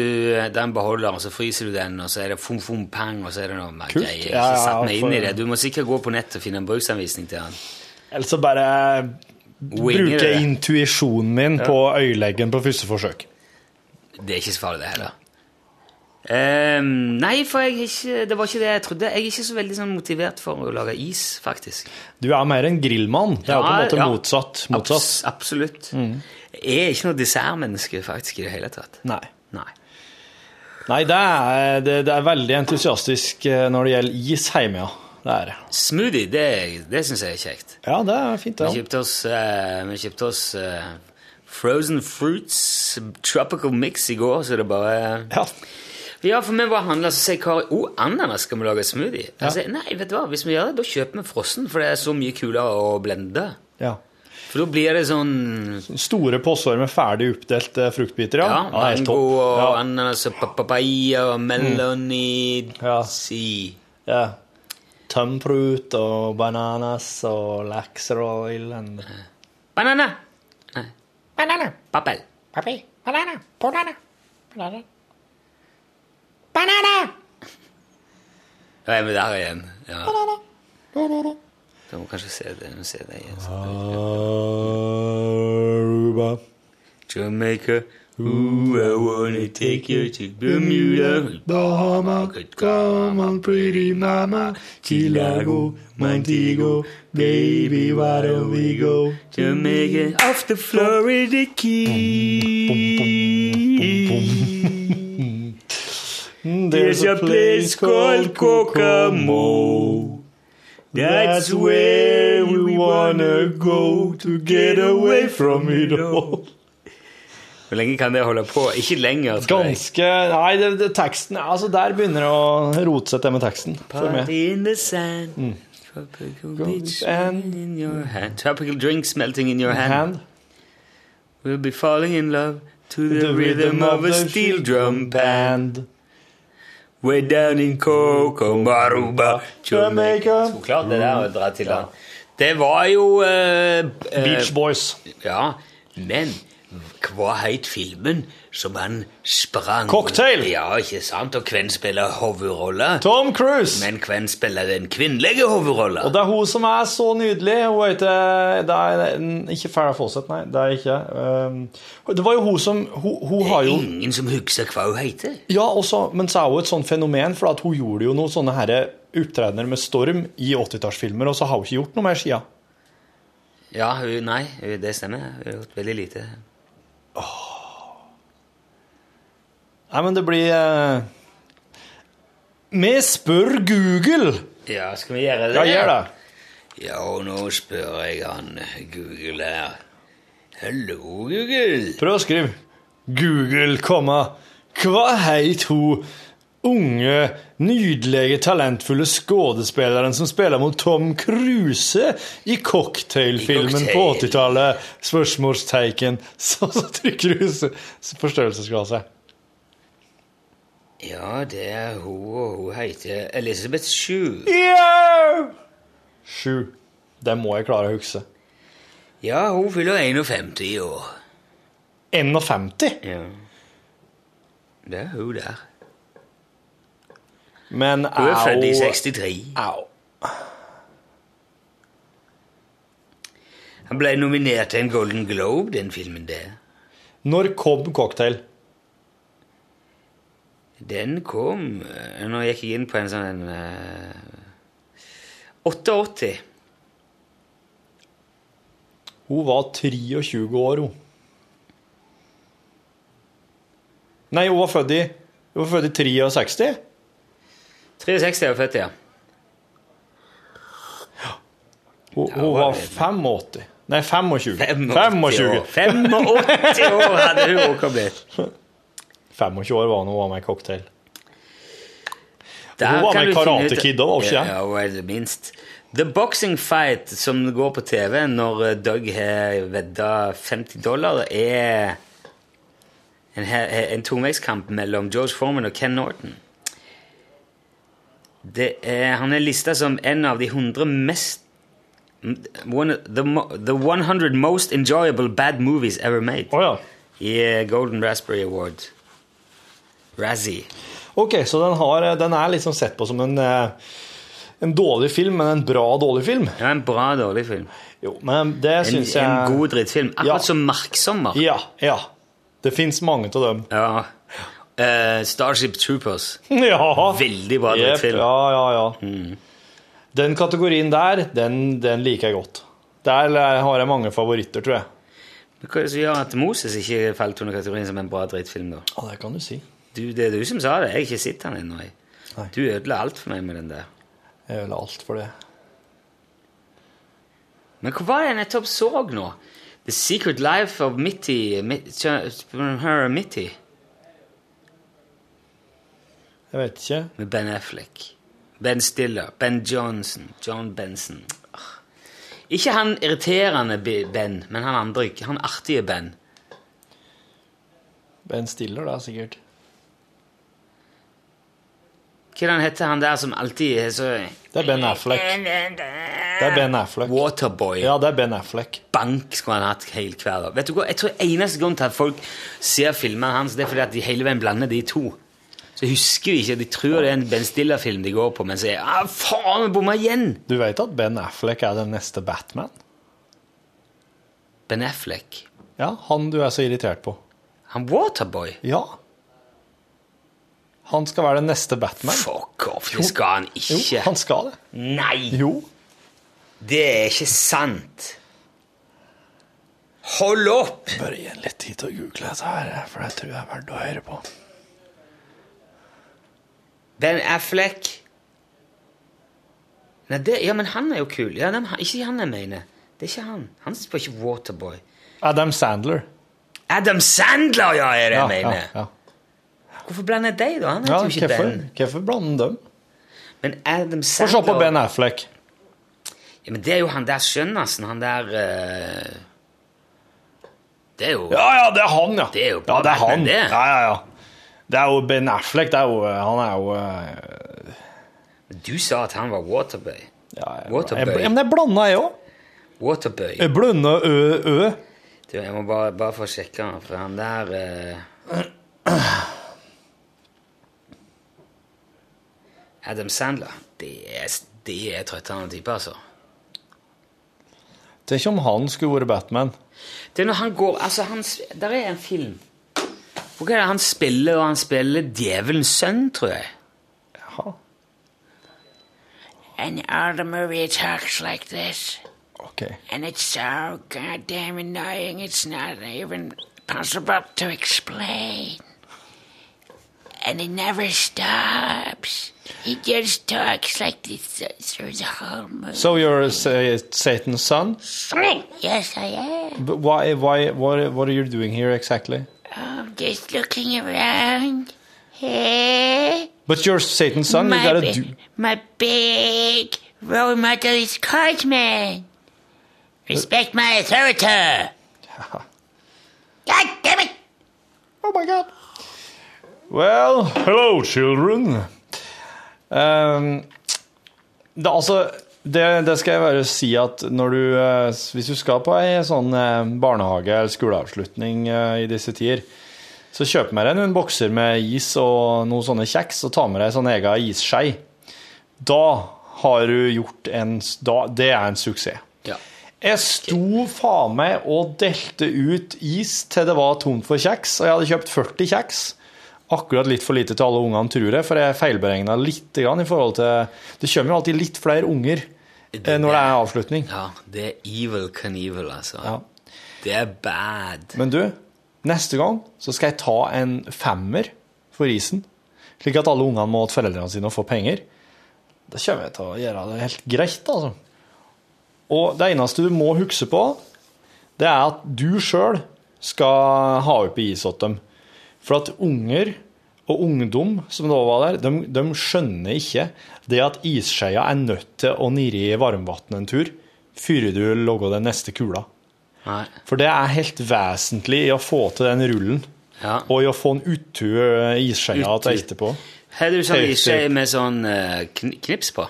Speaker 2: Den beholder, og så fryser du den, og så er det fum fum pang, og så er det noe mer
Speaker 14: Kult.
Speaker 2: greier. Jeg
Speaker 14: Ja,
Speaker 2: har
Speaker 14: ja,
Speaker 2: ikke satt meg inn
Speaker 14: for-
Speaker 2: i det. Du må sikkert gå på nettet og finne en bruksanvisning til den.
Speaker 14: Eller så bare
Speaker 2: Winger
Speaker 14: bruker
Speaker 2: det.
Speaker 14: jeg intuisjonen min på øyeleggen på første forsøk.
Speaker 2: Det er ikke så farlig, det heller. Ehm, nei, for jeg er ikke, det var ikke det jeg trodde. Jeg er ikke så veldig sånn motivert for å lage is, faktisk.
Speaker 14: Du er mer en grillmann. Det er jo på en
Speaker 2: Ja,
Speaker 14: måte
Speaker 2: ja.
Speaker 14: motsatt. motsatt. Mm.
Speaker 2: Abs absolutt. Jeg er ikke noe dessertmenneske, faktisk, i det hele tatt.
Speaker 14: Nei.
Speaker 2: Nei.
Speaker 14: Nei, det er, det, det er veldig entusiastisk eh, når det gjelder is hjemme, ja. Det er det.
Speaker 2: Smoothie, det, det syns jeg er kjekt.
Speaker 14: Ja, det er fint,
Speaker 2: Vi
Speaker 14: det.
Speaker 2: kjøpte oss, eh, vi kjøpte oss eh, Frozen Fruits Tropical Mix i går, så det bare eh, Ja, for vi var handla, så sier Kari oh, ananas skal vi lage smoothie. Jeg sier, Nei, vet du hva, hvis vi gjør det, da kjøper vi frossen, for det er så mye kulere å blende.
Speaker 14: Ja.
Speaker 2: For da blir det sånn
Speaker 14: Store poser med ferdig oppdelte fruktbiter, ja.
Speaker 2: Ja,
Speaker 14: det er helt
Speaker 2: mango
Speaker 14: topp.
Speaker 2: og
Speaker 14: Ja. Mm.
Speaker 2: ananas og pa- papaya og melon i si.
Speaker 14: Ja. Tømprut og bananas og lakseroil and
Speaker 2: Banana!
Speaker 16: Banana.
Speaker 2: Papel.
Speaker 16: Papi. Banana. Banana. Banana. Banana.
Speaker 2: Da er vi der igjen. Ja.
Speaker 16: Banana.
Speaker 2: Da må vi kanskje se det, vi må se det igjen.
Speaker 14: Aruba.
Speaker 2: Jamaica. Ooh, I wanna take you to
Speaker 14: Mm.
Speaker 2: Bermuda.
Speaker 16: Bahama. Come on, pretty mama. Chilago. Montego. Baby, why don't we go?
Speaker 2: Jamaica. Off the Florida Keys. There's a place called Kokomo.
Speaker 16: That's where we wanna go to get away from it all.
Speaker 2: Hvor lenge kan det holde på? Ikke lenger, tror jeg.
Speaker 14: Ganske Nei, det, det, teksten Altså, der begynner det å rote seg til med teksten. for meg.
Speaker 2: Party in the sand.
Speaker 14: Mm.
Speaker 2: Tropical beach in your hand. Tropical drinks melting in your hand.
Speaker 14: Hand.
Speaker 2: We'll be falling in love to the,
Speaker 14: The
Speaker 2: rhythm,
Speaker 14: rhythm
Speaker 2: of a
Speaker 14: of the
Speaker 2: steel drum band. We're down in Coco Maruba, Jamaica. Så klart det der å dra til land. Det var jo
Speaker 14: Beach
Speaker 2: Boys. Ja, men hva het filmen som han sprang
Speaker 14: Cocktail.
Speaker 2: Ja, ikke sant? Og hvem spiller hovedrolla?
Speaker 14: Tom Cruise.
Speaker 2: Men hvem spiller den kvinnelige hovedrolla?
Speaker 14: Og det er hun som er så nydelig. Hun heter det er, Ikke Farah Fawcett, nei. Det er ikke um, Det var jo hun som Hun, hun har jo
Speaker 2: Ingen som husker hva hun heter.
Speaker 14: Ja, også, men så er hun et sånt fenomen, for at hun gjorde jo noen sånne herre opptredener med storm i 80-tallsfilmer, og så har hun ikke gjort noe mer siden.
Speaker 2: Ja, hun, nei, hun- det stemmer. Hun har gjort veldig lite.
Speaker 14: Nei, men det blir eh, Vi spør Google!
Speaker 2: Ja, skal vi gjøre det?
Speaker 14: Ja, gjør det.
Speaker 2: Ja, og nå spør jeg han Google her. Hallo, Google.
Speaker 14: Prøv å skrive Google, komma. Hva heit hun unge, nydelige, talentfulle skuespilleren som spiller mot Tom Cruise i
Speaker 16: I
Speaker 14: cocktailfilmen på
Speaker 16: Cocktail.
Speaker 14: 80-tallet? Spørsmålstegn. [laughs] Så, så trykker du s- forstørrelsesglasset.
Speaker 2: Ja, det er hun, og hun heter Elisabeth Sju.
Speaker 14: Sju. Det må jeg klare å huske.
Speaker 2: Ja, hun fyller 51 i år.
Speaker 14: 51?
Speaker 2: Ja. Det er hun der.
Speaker 14: Men
Speaker 2: Hun er født i
Speaker 14: au.
Speaker 2: 63.
Speaker 14: Au.
Speaker 2: Han ble nominert til en Golden Globe, den filmen der.
Speaker 14: Når kom cocktail?
Speaker 2: Den kom eh, Nå gikk jeg inn på en sånn eh, 88.
Speaker 14: Hun var 23 år, hun. Nei, hun var født i, hun var født i 63.
Speaker 2: 63 er hun født, ja.
Speaker 14: Hun, hun var 85. Nei, 25.
Speaker 2: 85 år. 85 år hadde hun også blitt.
Speaker 14: 25 år var hun da hun var med i Cocktail.
Speaker 2: Der
Speaker 14: hun var
Speaker 2: kan
Speaker 14: med i
Speaker 2: du finne
Speaker 14: Karate
Speaker 2: ut-
Speaker 14: Kid òg, var hun ikke
Speaker 2: Ja,
Speaker 14: det?
Speaker 2: Ja, hun er det minst. The Boxing Fight, som går på TV når eh, Doug har vedda 50 dollar, er en, he- en tungvektskamp mellom George Foreman og Ken Norton. Det er, han er lista som en av de 100 mest one, the, mo- the 100 most enjoyable bad movies ever made. I eh, Golden Raspberry Award. Razzie.
Speaker 14: Ok, så den, har, den er liksom sett på som en, eh, en dårlig film, men en bra dårlig film.
Speaker 2: Ja, en bra dårlig film.
Speaker 14: Jo, men det
Speaker 2: En,
Speaker 14: syns jeg
Speaker 2: en god drittfilm. Akkurat
Speaker 14: Ja.
Speaker 2: som Marksommer.
Speaker 14: Ja, ja. Det fins mange av dem.
Speaker 2: Ja. Eh, Starship Troopers.
Speaker 14: [laughs] Ja.
Speaker 2: Veldig bra
Speaker 14: Jep,
Speaker 2: drittfilm.
Speaker 14: Ja, ja, ja. Den kategorien der, den, den liker jeg godt. Der har jeg mange favoritter, tror jeg.
Speaker 2: Men Hva er det som gjør at Moses ikke falt under kategorien som en bra drittfilm, da?
Speaker 14: Ja, det kan du si.
Speaker 2: Du, det er du som sa det. Jeg har ikke sett den ennå. jeg. Du ødela alt for meg med den der.
Speaker 14: Jeg vil ha alt for det.
Speaker 2: Men hva var det jeg nettopp så nå? The Secret Life of Mitty, Mitty Her Mitty.
Speaker 14: Jeg vet ikke.
Speaker 2: Med Ben Affleck. Ben Stiller. Ben Johnson. John Benson. Ah. Ikke han irriterende Bi- Ben, men han andre. ikke- Han artige Ben.
Speaker 14: Ben Stiller, da, sikkert.
Speaker 2: Hva er det han heter han der som alltid er så
Speaker 14: Det er Ben Affleck. Det er Ben Affleck.
Speaker 2: Waterboy.
Speaker 14: Ja, det er Ben Affleck.
Speaker 2: Bank skulle han hatt hele hver dag. Vet du hva? Jeg tror eneste grunn til at folk ser filmene hans, det er fordi at de hele veien blander de to. Så husker de ikke, de tror det er en Ben Stiller-film de går på, men så er ah, faen, vi bomma igjen!
Speaker 14: Du vet at Ben Affleck er den neste Batman?
Speaker 2: Ben Affleck.
Speaker 14: Ja, han du er så irritert på.
Speaker 2: Han Waterboy?
Speaker 14: Ja. Han skal være den neste Batman.
Speaker 2: Fuck off, det skal han ikke.
Speaker 14: Jo, han skal det.
Speaker 2: Nei!
Speaker 14: Jo.
Speaker 2: Det er ikke sant. Hold opp!
Speaker 17: Bare gi en litt tid til å google dette her, for det tror jeg er verdt å høre på.
Speaker 2: Ben Affleck. Nei, det, ja, men han er jo kul. Ja, dem- ikke han jeg mener. Det er ikke han. Han spør ikke Waterboy.
Speaker 14: Adam Sandler.
Speaker 2: Adam Sandler, ja, er det jeg mener.
Speaker 14: Ja, ja.
Speaker 2: Hvorfor blander jeg deg, da? Han heter
Speaker 14: Ja,
Speaker 2: jo ikke
Speaker 14: hvorfor-
Speaker 2: Ben.
Speaker 14: Hvorfor blander dem?
Speaker 2: Men Adam
Speaker 14: Få
Speaker 2: Sandler
Speaker 14: se på Ben Affleck.
Speaker 2: Ja, men det er jo han der Skjønnassen, han der eh, Det er jo
Speaker 14: Ja, ja, det er han, ja.
Speaker 2: Det er jo
Speaker 14: ja, det er han.
Speaker 2: Batman, det.
Speaker 14: Ja, ja, ja. Det er jo Ben Affleck. Det er jo, han er jo eh,
Speaker 2: Du sa at han var Waterboy.
Speaker 14: jeg,
Speaker 2: Waterboy.
Speaker 14: ja, Men jeg blanda, jeg òg.
Speaker 2: Waterboy.
Speaker 14: Jeg blanda ø, ø.
Speaker 2: Du, jeg må bare, bare få sjekke han, for han der eh, Adam Sandler. Det er, det er trøtterende type, altså.
Speaker 14: Tenk om han skulle vært Batman.
Speaker 2: Det er når han går Altså, han, der er en film. Hvor er det han spiller, og han spiller djevelens sønn, tror jeg.
Speaker 14: Jaha.
Speaker 9: And all the movie talks like this.
Speaker 14: Okay.
Speaker 9: And it's so goddamn annoying, it's not even possible to explain. And he never stops. He just talks like this through the whole movie.
Speaker 14: So you're uh, Satan's son?
Speaker 9: yes, I am.
Speaker 14: But why, why, what, what are you doing here exactly?
Speaker 9: I'm just looking around. Hey,
Speaker 14: But you're Satan's son? You
Speaker 9: My
Speaker 14: gotta
Speaker 9: bad.
Speaker 14: do...
Speaker 9: my big role model is Cartman. Respect my authority. God damn it!
Speaker 14: Oh my god. Well, hello children. Um, det, altså, det, det skal jeg bare si at når du, eh, hvis du skal på ei sånn eh, barnehage- eller skoleavslutning eh, i disse tider, så kjøp med deg noen bokser med is og noen sånne kjeks, og ta med deg sånn egen isskei. Da har du gjort en s- da, Det er en suksess. Jeg sto faen meg og delte ut is til det var tomt for kjeks, og jeg hadde kjøpt 40 kjeks. Akkurat litt for lite til alle ungene, tror jeg, for jeg feilberegna litt grann i forhold til Det kommer jo alltid litt flere unger eh, når det er avslutning.
Speaker 2: Ja, det er evil Knievel, altså.
Speaker 14: Ja.
Speaker 2: Det er bad.
Speaker 14: Men du, neste gang så skal jeg ta en femmer for isen, slik at alle ungene må til foreldrene sine og få penger. Da kommer jeg til å gjøre det helt greit, altså. Og det eneste du må huske på, det er at du sjøl skal ha oppi is åt dem. For at unger og ungdom som da var der, de, de skjønner ikke det at isskeia er nødt til å nirre i varmvann en tur før du lager den neste kula.
Speaker 2: Nei.
Speaker 14: For det er helt vesentlig i å få til den rullen. Og i å få en utu isskjea
Speaker 2: Utu.
Speaker 14: til etterpå.
Speaker 2: Har du sånn
Speaker 14: Helt
Speaker 2: isskje
Speaker 14: riktig.
Speaker 2: med sånn eh, kn knips på?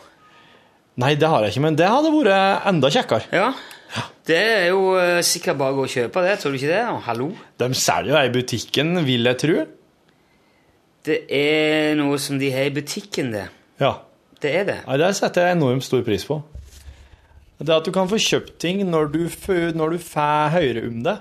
Speaker 14: Nei, det har jeg ikke, men det hadde vært enda kjekkere.
Speaker 2: Ja. Det er jo eh, sikkert bare å gå og kjøpe det, tror du ikke det? Og hallo?
Speaker 14: De selger jo det i butikken, vil jeg tro.
Speaker 2: Det er noe som de har i butikken, det.
Speaker 14: Ja.
Speaker 2: Det er det.
Speaker 14: Nei, det setter jeg enormt stor pris på. Det at du kan få kjøpt ting når du, f- når du får høre om det.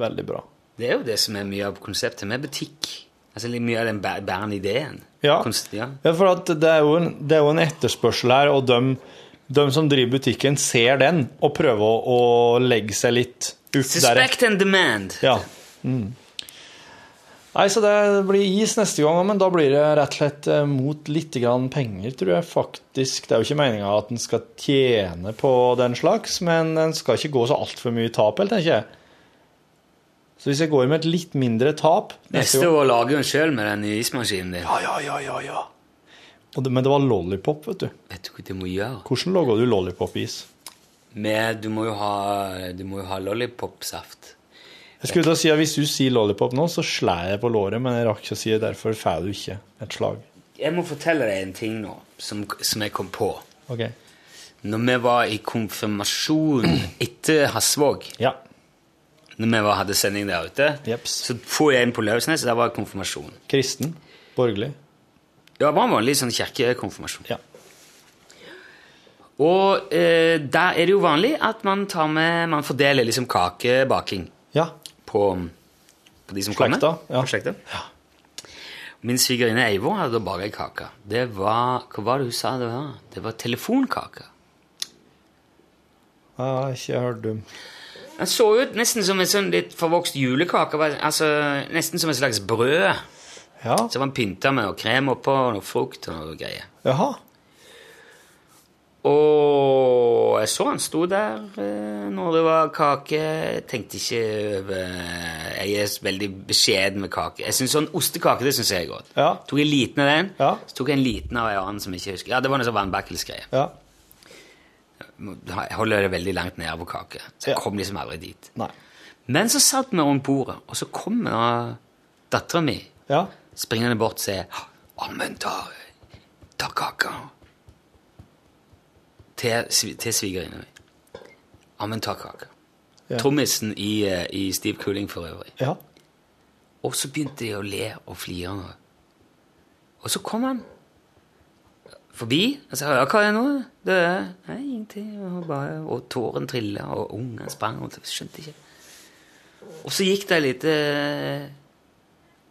Speaker 14: Veldig bra.
Speaker 2: Det er jo det som er mye av konseptet med butikk. Altså litt mye av den bæ- bærende ideen.
Speaker 14: Ja.
Speaker 2: Konst- ja.
Speaker 14: Ja, for at det er jo en, det er jo en etterspørsel her, og de, som driver butikken, ser den og prøver å, å legge seg litt opp der.
Speaker 2: Suspect and demand.
Speaker 14: Ja. Mm. Nei, så det blir is neste gang, men da blir det rett og slett eh, mot litt grann penger, tror jeg faktisk. Det er jo ikke meninga at en skal tjene på den slags, men en skal ikke gå så altfor mye tap, helt, tenker jeg. Så hvis jeg går med et litt mindre tap
Speaker 2: Neste år lager hun sjøl med den ismaskinen din.
Speaker 14: Ja, ja, ja, ja, ja. Og det, men det var lollipop, vet du.
Speaker 2: Vet du hva du må gjøre?
Speaker 14: Hvordan lager du lollipop-is?
Speaker 2: Med, du, må jo ha, du må jo ha lollipopsaft.
Speaker 14: Jeg skulle til å si at Hvis du sier lollipop nå, så slår jeg på låret, men jeg rakk ikke å si det. Derfor får du ikke et slag.
Speaker 2: Jeg må fortelle deg en ting nå som, som jeg kom på.
Speaker 14: Ok.
Speaker 2: Når vi var i konfirmasjon etter Hasvåg Når vi var, hadde sending der ute, så får jeg inn på Lauvsnes, og der var konfirmasjon.
Speaker 14: Kristen. Borgerlig.
Speaker 2: Det var en vanlig sånn kirkekonfirmasjon. Og eh, der er det jo vanlig at man tar med Man fordeler liksom kakebaking
Speaker 14: Ja.
Speaker 2: på, på de som
Speaker 14: Slekta,
Speaker 2: kommer. På Slekta. Min svigerinne Eivor hadde baka ei kake. Det var Hva var det hun sa det var? Det var telefonkake.
Speaker 14: Jeg har ikke hørt om.
Speaker 2: Den så ut nesten som en sånn litt forvokst julekake. bare- Altså, nesten som et slags brød. Som man pynta med og krem oppå og noe frukt og noe greier.
Speaker 14: Jaha.
Speaker 2: Og jeg så han sto der eh, når det var kake. Jeg tenkte ikke over Jeg er veldig beskjeden med kake. Jeg synes sånn Ostekake det synes jeg er godt. Tok en liten av den, så tok jeg en liten av en annen som jeg ikke husker. Ja, Det var noe sånn vannbakkelsgreie.
Speaker 14: Ja.
Speaker 2: Jeg holder det veldig langt nede på kake. Så jeg kom liksom aldri dit.
Speaker 14: Nei.
Speaker 2: Men så satt vi rundt bordet, og så kommer dattera mi
Speaker 14: Ja.
Speaker 2: springende bort og sier Amund, ta, ta kaka. Til, svi- til svigerinna mi. Amund, ta kaka.
Speaker 14: Ja.
Speaker 2: Trommisen i, eh, i Steve Cooling for øvrig.
Speaker 14: Ja.
Speaker 2: Og så begynte de å le og flire. Og så kom han forbi og sa «Ja, 'Hva er det nå?' Det er «Nei, ingenting. Og, bare, og tåren trilla, og ungen sprang. Og jeg skjønte ikke. Og så gikk det et lite eh,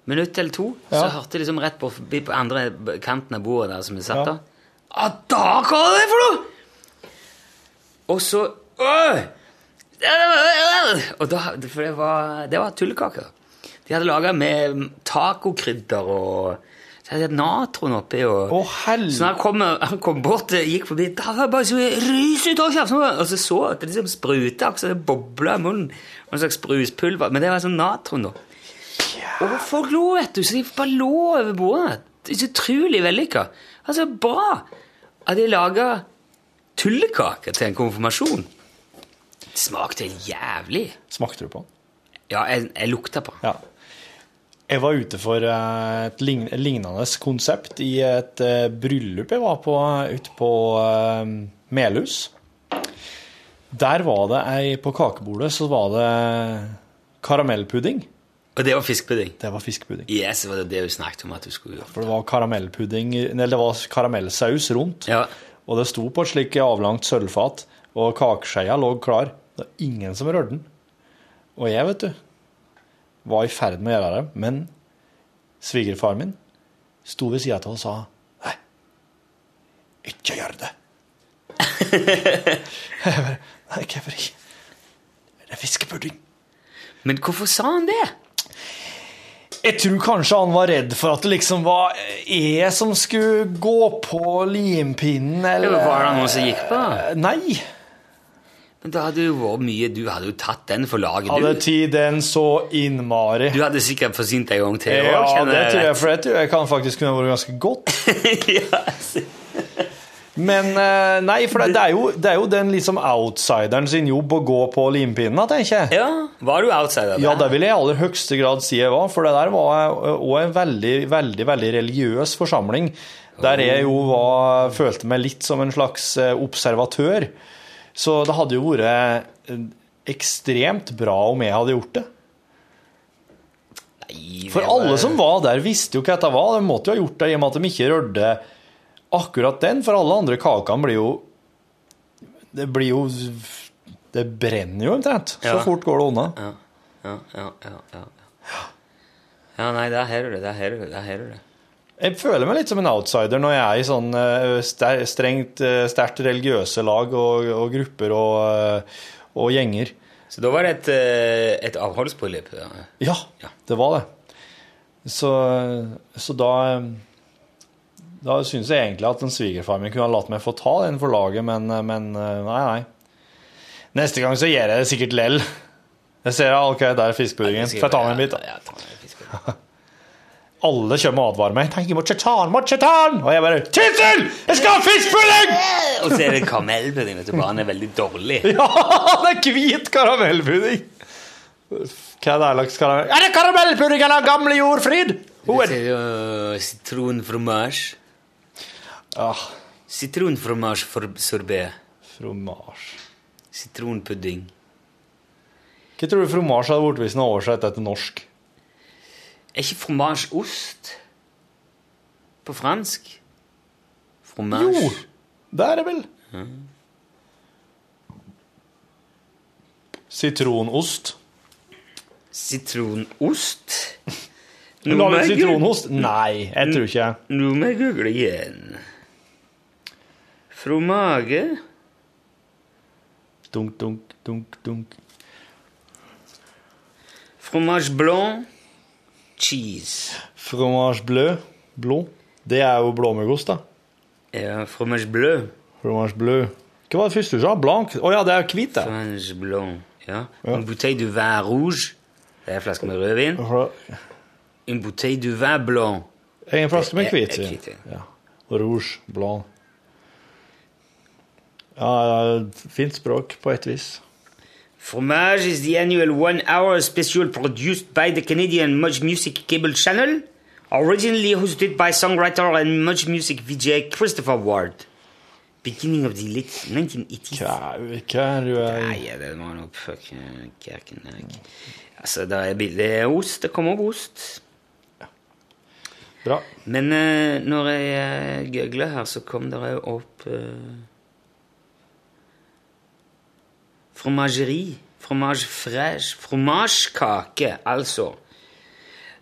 Speaker 2: minutt eller to, så
Speaker 18: Ja.
Speaker 2: hørte jeg liksom rett på, forbi på andre kanten av bordet der som vi satt
Speaker 18: Ja.
Speaker 2: da. «Ah, da, hva er det for noe?! Og så «Åh!» Og da, For det var, det var tullekaker. De hadde laga med tacokrydder og så hadde de hatt natron oppi. Og, så han kom, han kom bort og gikk forbi da var det bare så mye rys ut av kjeften! Og så så jeg at det liksom spruta, akkurat som det bobla i munnen. Og en slags bruspulver. Men det var sånn natron, da. Og folk lo, vet du, så de bare lå over bordet. Det er så utrolig vellykka. Altså, bra at de laga tullekaker til en konfirmasjon. Det smakte helt jævlig.
Speaker 14: Smakte du på den?
Speaker 2: Ja, jeg, jeg lukta på
Speaker 14: den. Jeg var ute for eh, et lign- et lignende konsept i et eh, bryllup jeg var på ute på eh, Melhus. Der var det ei På kakebordet så var det karamellpudding.
Speaker 2: Og det var fiskepudding?
Speaker 14: Det var fiskepudding.
Speaker 2: Yes, det var det du snakket om at du skulle gjøre.
Speaker 14: For det var karamellpudding Eller det var karamellsaus rundt. Og det sto på et slikt avlangt sølvfat, og kakeskeia lå klar. Det var ingen som rørte den. Og jeg, vet du, var i ferd med å gjøre det, men svigerfaren min sto ved sida av og sa Nei, ikke gjør det. jeg bare Nei, hvorfor ikke? Det er fiskepudding.
Speaker 2: Men hvorfor sa han det?
Speaker 14: Jeg tror kanskje han var redd for at det liksom var jeg som skulle gå på limpinnen,
Speaker 2: Ja,
Speaker 14: eller
Speaker 2: men Var det noen som gikk på?
Speaker 14: Nei.
Speaker 2: Men da hadde jo vært mye Du hadde jo tatt den for laget, du.
Speaker 14: Hadde tid den så innmari.
Speaker 2: Du hadde sikkert forsynt deg en gang til.
Speaker 14: Ja,
Speaker 2: også, kjenner
Speaker 14: det tror jeg,
Speaker 2: rett.
Speaker 14: for det tror jeg kan faktisk kunne vært ganske
Speaker 2: [laughs]
Speaker 14: godt.
Speaker 2: altså.
Speaker 14: Men eh, nei, for det, det, er jo, det er jo den liksom outsideren sin jobb å gå på limpinnen, tenker jeg.
Speaker 2: Ja, var du outsider?
Speaker 14: Ja, det vil jeg i aller høyeste grad si jeg var, for det der var òg en veldig, veldig, veldig religiøs forsamling, der jeg jo var, følte meg litt som en slags eh, observatør. Så det hadde jo vært eh, ekstremt bra om jeg hadde gjort det. For
Speaker 2: eh,
Speaker 14: alle som var der, visste jo hva dette var. De måtte jo ha gjort det i og med at de ikke rørte akkurat den, for alle andre kakene blir jo Det blir jo Det brenner jo omtrent. Så
Speaker 2: Ja.
Speaker 14: fort går det unna.
Speaker 2: Ja, ja, ja, ja, ja. Ja, nei, der har du det. Der har du det. Der har du det.
Speaker 14: Jeg føler meg litt som en outsider når jeg er i sånn eh, ster- strengt, eh, sterkt religiøse lag og, og grupper og, eh, og gjenger.
Speaker 2: Så da var det et, eh, et avholdsbryllup? Ja.
Speaker 14: Ja, det var det. Så, så da Da syns jeg egentlig at en svigerfar min kunne ha latt meg få ta den for laget, men, men nei, nei. Neste gang så gjør jeg det sikkert lell. Jeg ser ja, OK, der er fiskepuddingen. Får jeg ta med en bit? da? Alle kommer og advarer meg. Tenk, jeg må ikke ta den, må ikke ta den! Og jeg bare Tittel! Jeg skal ha fiskepudding!
Speaker 2: Og så er det karamellpudding, vet du. Bare den er veldig
Speaker 14: [laughs]
Speaker 2: dårlig.
Speaker 14: Ja, det er hvit karamellpudding! Hva er det slags karamell? Er det karamellpudding eller gamle jordfryd?
Speaker 2: Det ser jo eh, sitronfromasj.
Speaker 14: Ah.
Speaker 2: Sitronfromasj for sorbé.
Speaker 14: Fromasj
Speaker 2: Sitronpudding.
Speaker 14: Hva tror du fromasj hadde blitt hvis den hadde oversatt det til norsk?
Speaker 2: Er ikke fromasj ost? På fransk? Fromasj
Speaker 14: Jo! Det er det vel.
Speaker 2: Ja.
Speaker 14: Sitronost.
Speaker 2: Sitronost?
Speaker 14: Nå
Speaker 2: må
Speaker 14: Lager
Speaker 2: jeg
Speaker 14: du
Speaker 2: google-
Speaker 14: sitronost? Nei, jeg tror ikke
Speaker 2: Nå må jeg google igjen. Fromage
Speaker 14: Dunk, dunk, dunk, dunk.
Speaker 2: Fromage blanc. Cheese.
Speaker 14: Fromage bleu. Blå. Det er jo blåmuggost, da.
Speaker 2: Ja, fromage bleu.
Speaker 14: Fromage bleu. Hva var det første du sa? Blanc? Å ja, det er hvit, det.
Speaker 2: Fromage blanc. Ja. En bouteille du vin rouge. Det er en flaske med rødvin.
Speaker 14: Ah.
Speaker 2: En bouteille du vin blanc.
Speaker 14: En flaske med
Speaker 2: Det er-
Speaker 14: hvit.
Speaker 2: er
Speaker 14: sier
Speaker 2: hvit,
Speaker 14: jeg. Ja. Og Rouge, blanc. Ja, ja, fint språk på et vis.
Speaker 2: Fromage is the annual one hour special produced by the Canadian Much Music Cable Channel, originally hosted by songwriter and Much Music VJ Christopher Ward. Beginning of the late Ah, 1980s.
Speaker 14: Hva er du er
Speaker 2: Nei, det var noe oh, fucking Kerkenek. Altså, det er billig ost. Det kommer opp ost.
Speaker 14: Bra.
Speaker 2: Men eh, når jeg eh, googler her, så kom det jo opp eh, Fromagerie. Fromage fresh. Fromagekake, altså.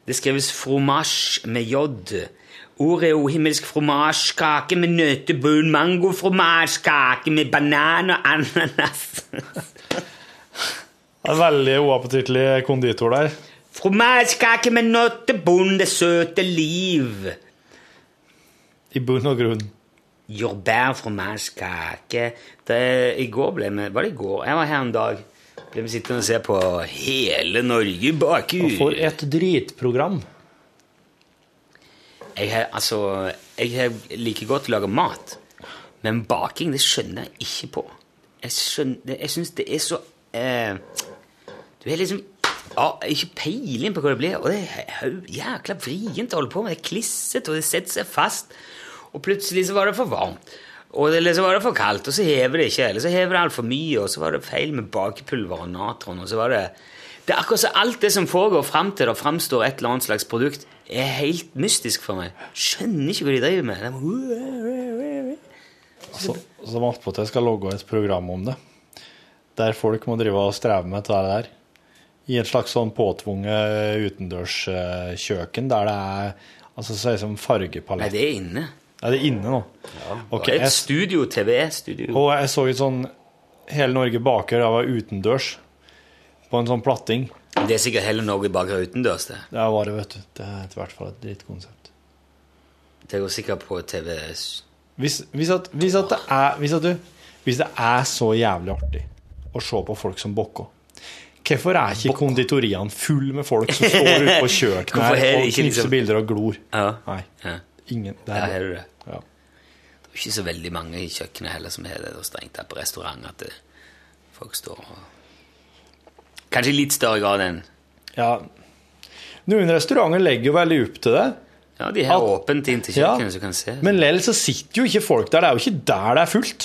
Speaker 2: Det skrives fromage med j. Ordet er jo himmelsk fromagekake med nøttebunn, mango, fromagekake med banan og ananas. [laughs]
Speaker 14: En veldig uappetittlig konditor der.
Speaker 2: Fromagekake med nøttebunn, det søte liv.
Speaker 14: I bunn og grunn.
Speaker 2: Jordbær, fromagekake Det- I går ble vi Var det i går? Jeg var her en dag. Ble vi sittende og se på Hele Norge baker.
Speaker 14: Og for et dritprogram.
Speaker 2: Jeg har, altså, jeg har like godt å lage mat, men baking det skjønner jeg ikke på. Jeg, skjønner- det- jeg syns det er så eh, Du har liksom ja, ikke peiling på hva det blir, og det er hau- jækla vrient å holde på med. Det er klissete, og det setter seg fast. Og plutselig så var det for varmt, og eller så var det for kaldt, og så hever det ikke, eller så hever det altfor mye, og så var det feil med bakepulver og natron, og så var det det er akkurat så alt det som foregår fram til det framstår et eller annet slags produkt, er helt mystisk for meg. Skjønner ikke hva de driver med. De-
Speaker 14: Så, som attpåtil altså, skal logge et program om det. Der folk må drive og streve med dette der. I et slags sånn påtvunget utendørskjøkken der det er altså så er det som fargepalett.
Speaker 2: Nei, det er inne.
Speaker 14: Ja, det er inne nå. Ok,
Speaker 2: det er
Speaker 14: jeg-
Speaker 2: et studio, TV-studio.
Speaker 14: Og jeg så et sånn Hele Norge baker, det var utendørs. På en sånn platting.
Speaker 2: Det er sikkert heller Norge bak utendørs, det.
Speaker 14: Det var det, vet du. Det er i hvert fall et drittkonsept.
Speaker 2: Det går sikkert på TV
Speaker 14: Hvis, hvis, at, hvis, at det er, hvis, at du, hvis det er så jævlig artig å se på folk som bokker Hvorfor er ikke konditoriene full med folk som står ute på kjøkkenet
Speaker 2: Hvorfor er det
Speaker 14: her og
Speaker 2: ikke
Speaker 14: knipser
Speaker 2: liksom-
Speaker 14: bilder og glor? Nei.
Speaker 2: Ja.
Speaker 14: Ingen. Det
Speaker 2: Der
Speaker 14: er
Speaker 2: har du det.
Speaker 14: Ja.
Speaker 2: Det er ikke så veldig mange i kjøkkenet heller som har det. Det er strengt tatt på restaurant at det, folk står og Kanskje i litt større grad enn
Speaker 14: Ja. Noen restauranter legger jo veldig opp til det.
Speaker 2: Ja, de har åpent inn til
Speaker 14: Ja.
Speaker 2: kjøkkenet, så du kan se.
Speaker 14: Men lell så sitter jo ikke folk der. Det er jo ikke der det er fullt.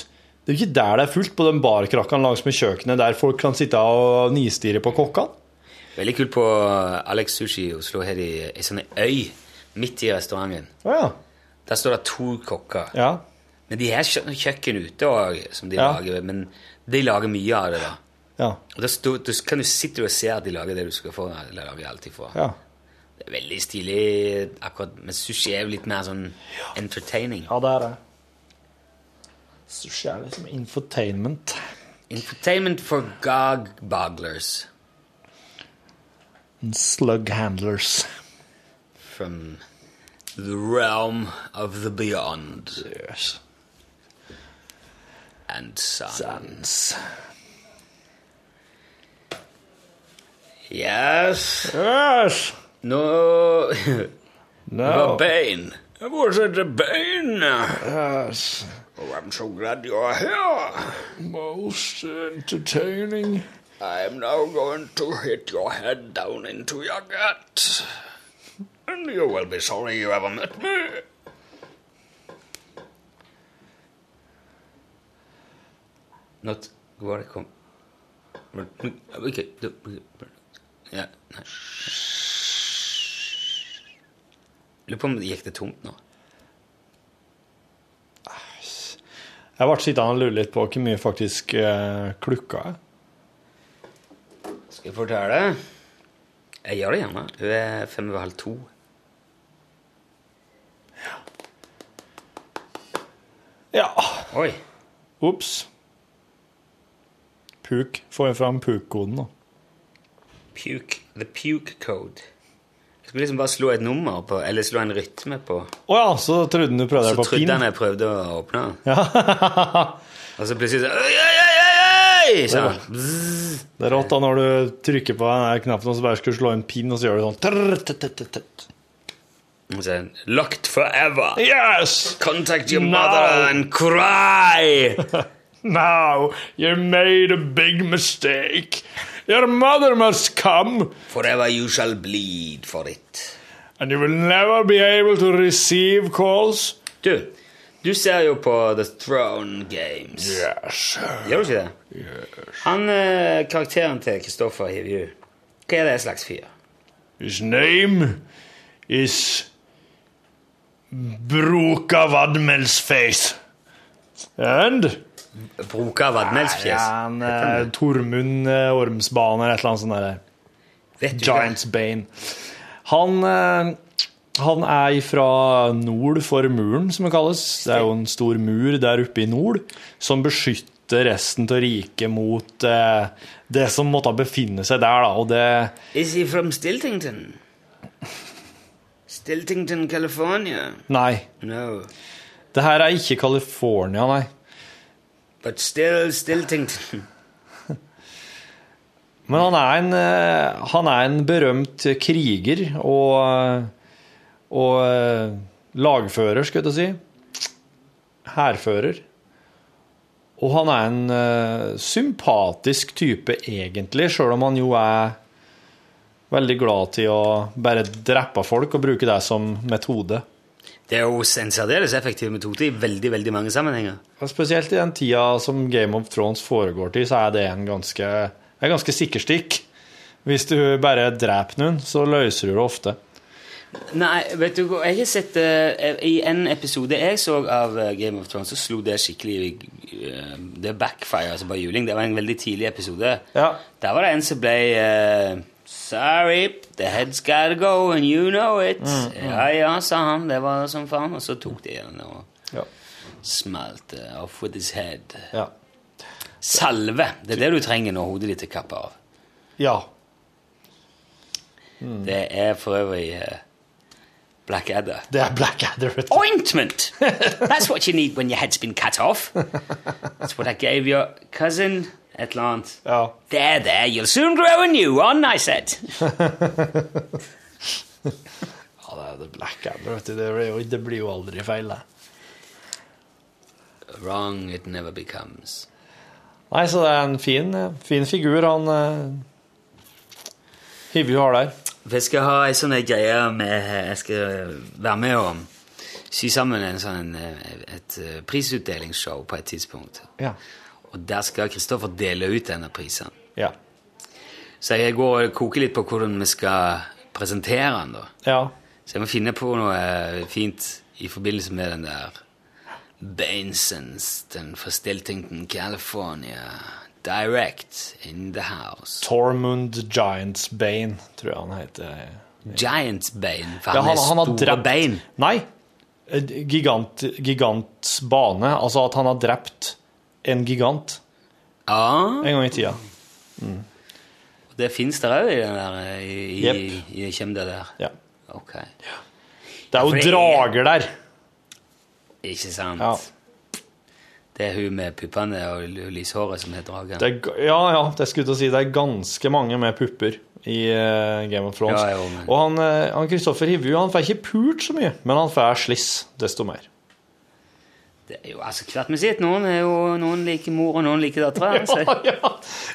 Speaker 14: Det er jo ikke der det er fullt på den barkrakken langsmed kjøkkenet der folk kan sitte og nistirre på kokkene.
Speaker 2: Veldig kult på Alex Sushi i Oslo. Har de ei sånn øy midt i restauranten. Der står det to kokker. Men de har kjø- kjøkken ute også, som de
Speaker 14: Ja.
Speaker 2: lager. Men de lager mye av det, da.
Speaker 14: Ja.
Speaker 2: Og da stå, da kan du sitte og se at de lager det du skal få. Eller lager alt ifra.
Speaker 14: Ja.
Speaker 2: Det er veldig stilig. akkurat, Men sushi er jo litt mer sånn entertaining.
Speaker 14: Ja, det er det. Sushi er liksom infotainment.
Speaker 2: Entertainment for gog-bogglers.
Speaker 14: Slug handlers.
Speaker 2: from the realm of the beyond. Yes. And sons. Yes.
Speaker 14: Yes.
Speaker 2: No. [laughs]
Speaker 14: No. Oh.
Speaker 2: The Bane. Was it the Bane? Yes. Oh, I'm so glad you're here.
Speaker 14: Most entertaining.
Speaker 2: I'm now going to hit your head down into your gut. And you will be sorry you ever met me. Not where I come. Okay. Ja. Nei. Lurer på om det gikk det tomt nå.
Speaker 14: Jeg ble sittende og lure litt på hvor mye faktisk eh, klukka er.
Speaker 2: Skal jeg fortelle? Jeg gjør det gjerne. Du er fem over halv to.
Speaker 14: Ja.
Speaker 2: Oi.
Speaker 14: Ops. Puk. Får jeg fram puk-koden, da.
Speaker 2: Puke. The puke code. Jeg skulle liksom bare slå et nummer på, eller slå en rytme på.
Speaker 14: Å ja, så trodde han du
Speaker 2: Så
Speaker 14: prøvde deg på pin.
Speaker 2: trodde han jeg prøvde å åpne. den. Og så plutselig så Oi, oi,
Speaker 14: Det
Speaker 2: oi,
Speaker 14: er
Speaker 2: oi! Bzzz.
Speaker 14: [laughs] Det er rått da når du trykker på den her knappen og så bare skal du slå en pin, og så gjør du sånn trrr, tut, tut, tut, tut.
Speaker 2: Og så Locked forever.
Speaker 14: Yes!
Speaker 2: Contact your
Speaker 14: No.
Speaker 2: mother and cry!
Speaker 14: Now you made a big mistake. Your mother must come,
Speaker 2: Forever you shall bleed for it.
Speaker 14: and you will never be able to receive calls.
Speaker 2: Du, du ser jo på The Throne Games.
Speaker 14: Yes.
Speaker 2: Gjør du ikke det? Han, eh, Karakteren til Kristoffer Hivju, hva er det slags fyr?
Speaker 14: His name is Bruka Vadmelsfaith. And
Speaker 2: Bruka Vadmelsfjes?
Speaker 14: Han eh, Tormund eh, Ormsbane eller et eller annet sånt der.
Speaker 2: Vet du
Speaker 14: Giants Bane. Han, eh, han er fra nord for muren, som det kalles. Det er jo en stor mur der oppe i nord som beskytter resten av riket mot eh, det som måtte befinne seg der, da. Og det
Speaker 2: Is he from Stiltington? Stiltington, California?
Speaker 14: Nei.
Speaker 2: No.
Speaker 14: Det her er ikke California, nei.
Speaker 2: But still Stiltington.
Speaker 14: Men han er en, eh, han er en berømt kriger og, og eh, lagfører, skal jeg til å si. Hærfører. Og han er en eh, sympatisk type, egentlig, sjøl om han jo er veldig glad til å bare drepe folk og bruke det som metode.
Speaker 2: [laughs] Det er jo en særdeles effektiv metode i veldig veldig mange sammenhenger.
Speaker 14: Og spesielt i den tida som Game of Thrones foregår til, så er det en ganske, en ganske sikker stikk. Hvis du bare dreper noen, så løser du det ofte.
Speaker 2: Nei, vet du hva, jeg har sett eh, I en episode jeg så av eh, Game of Thrones, så slo det skikkelig eh, Det backfire, altså bare juling. Det var en veldig tidlig episode. Der var det en som ble eh, Sorry, the head's gotta go, and you know it.
Speaker 14: Mm, mm.
Speaker 2: Ja, ja, sa han. Det var som faen. Og så tok de igjen og
Speaker 14: Ja.
Speaker 2: smalt eh, off with his head.
Speaker 14: Ja.
Speaker 2: Salve. Det er det du trenger når hodet ditt er kappa av.
Speaker 14: Ja.
Speaker 2: Det er for øvrig eh, Blackadder.
Speaker 14: Det er Blackadder. vet du.
Speaker 2: Ointment! That's what you need when your head's been cut off. That's what I gave your cousin at Lant.
Speaker 14: Oh.
Speaker 2: There, there, you'll soon grow a new one, I said.
Speaker 14: Ja, det er The Blackadder, vet du. Det blir, jo, det blir jo aldri feil, det.
Speaker 2: Wrong it never becomes.
Speaker 14: Nei, så det er en fin, fin figur han uh, Hivju har der.
Speaker 2: Jeg skal ha ei sånn greie med eh, Jeg skal være med og sy sammen en sånn, eh, et eh, prisutdelingsshow på et tidspunkt.
Speaker 14: Ja.
Speaker 2: Og der skal Kristoffer dele ut en av prisene.
Speaker 14: Ja.
Speaker 2: Så jeg går og koker litt på hvordan vi skal presentere den, da.
Speaker 14: Ja.
Speaker 2: Så jeg må finne på noe eh, fint i forbindelse med den der Bainsons, den fra Stiltington, California. Direct in the house.
Speaker 14: Tormund Giants Bane, tror jeg han heter.
Speaker 2: Giants Bane, for
Speaker 14: Ja,
Speaker 2: han,
Speaker 14: han, han har
Speaker 2: er store
Speaker 14: drept
Speaker 2: bein.
Speaker 14: Nei. eh, Gigant, gigants bane. Altså at han har drept en gigant. En gang i tida.
Speaker 2: Det fins der òg i den der eh, i,
Speaker 14: Jepp.
Speaker 2: i, i Kjemda der.
Speaker 14: Ja.
Speaker 2: ok.
Speaker 14: Det er
Speaker 2: For
Speaker 14: jo
Speaker 2: det er-
Speaker 14: drager der.
Speaker 2: Ikke sant? Det er hun med puppene og l- lyshåret som heter Dragen.
Speaker 14: Det er, ga- ja, ja, det skulle jeg til å si. Det er ganske mange med pupper i eh, Game of Thrones.
Speaker 2: Ja, jo, men-
Speaker 14: Og han, eh, han Kristoffer Hivju han får ikke pult så mye, men han får sliss desto mer.
Speaker 2: Det er jo altså hvert med sitt. Noen, er jo, noen liker mor, og noen liker dattera.
Speaker 14: [laughs]
Speaker 2: altså.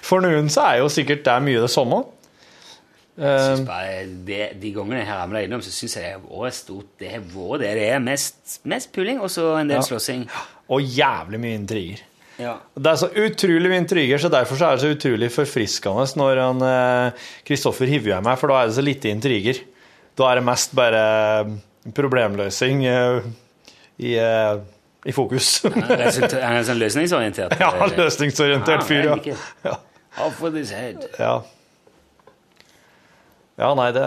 Speaker 14: For noen så er jo sikkert det mye det samme. Eh,
Speaker 2: Jeg
Speaker 14: [laughs] Um.
Speaker 2: synes bare det, De gangene jeg har ramlet innom, så syns jeg det har vært stort. Det har vært det det er. Mest, mest puling, og så en del
Speaker 14: Ja.
Speaker 2: slåssing.
Speaker 14: Og jævlig mye intriger.
Speaker 2: Ja.
Speaker 14: Det er så utrolig mye intriger, så derfor så er det så utrolig forfriskende når han eh, Kristoffer Hivju er med, for da er det så lite intriger. Da er det mest bare problemløsning eh, i, eh, i fokus.
Speaker 2: Han er resulta- han er sånn løsningsorientert.
Speaker 14: [laughs]
Speaker 2: eh, Ah,
Speaker 14: Ja, løsningsorientert fyr, ja.
Speaker 2: ja. Off with his head.
Speaker 14: Ja. Ja, nei, det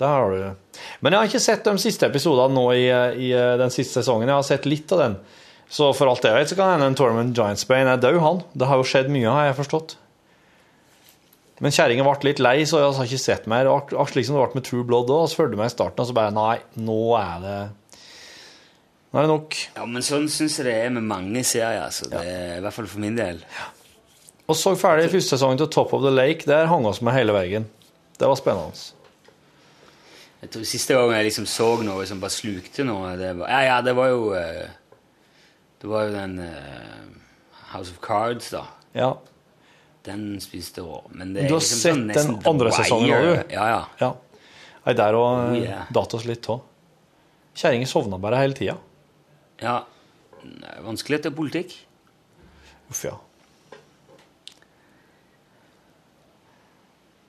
Speaker 14: Det har du. Men jeg har ikke sett de siste episodene nå i, i eh, den siste sesongen. Jeg har sett litt av den. Så for alt jeg vet, så kan hende en Tormund Giantsbane er død, han. Det har jo skjedd mye, har jeg forstått. Men kjerringa ble litt lei, så jeg har ikke sett mer. Og ak- Akkurat slik som det ble med True Blood òg, så fulgte jeg med i starten, og så bare Nei, nå er det Nå er det nok.
Speaker 2: Ja, men sånn syns jeg det er med mange serier. Altså. Det, er- I hvert fall for min del.
Speaker 14: Og så ferdig første sesongen til Top of the Lake. Der hang oss med hele veien. Det var spennende.
Speaker 2: Jeg tror Siste gangen jeg liksom så noe som bare slukte noe det var, Ja, ja, det var jo eh, Det var jo den eh, House of Cards, da.
Speaker 14: Ja.
Speaker 2: Den spiste rå. Men det
Speaker 14: Du
Speaker 2: er
Speaker 14: har
Speaker 2: liksom
Speaker 14: sett
Speaker 2: sånn
Speaker 14: den
Speaker 2: nesten The
Speaker 14: andre sesongen
Speaker 2: Wire.
Speaker 14: òg, du.
Speaker 2: Ja, ja.
Speaker 14: Nei, der òg
Speaker 2: Oh,
Speaker 14: eh,
Speaker 2: yeah.
Speaker 14: datt oss litt òg. Kjerringa sovna bare hele tida.
Speaker 2: ja. Det er Vanskelig til politikk.
Speaker 14: Uff, ja.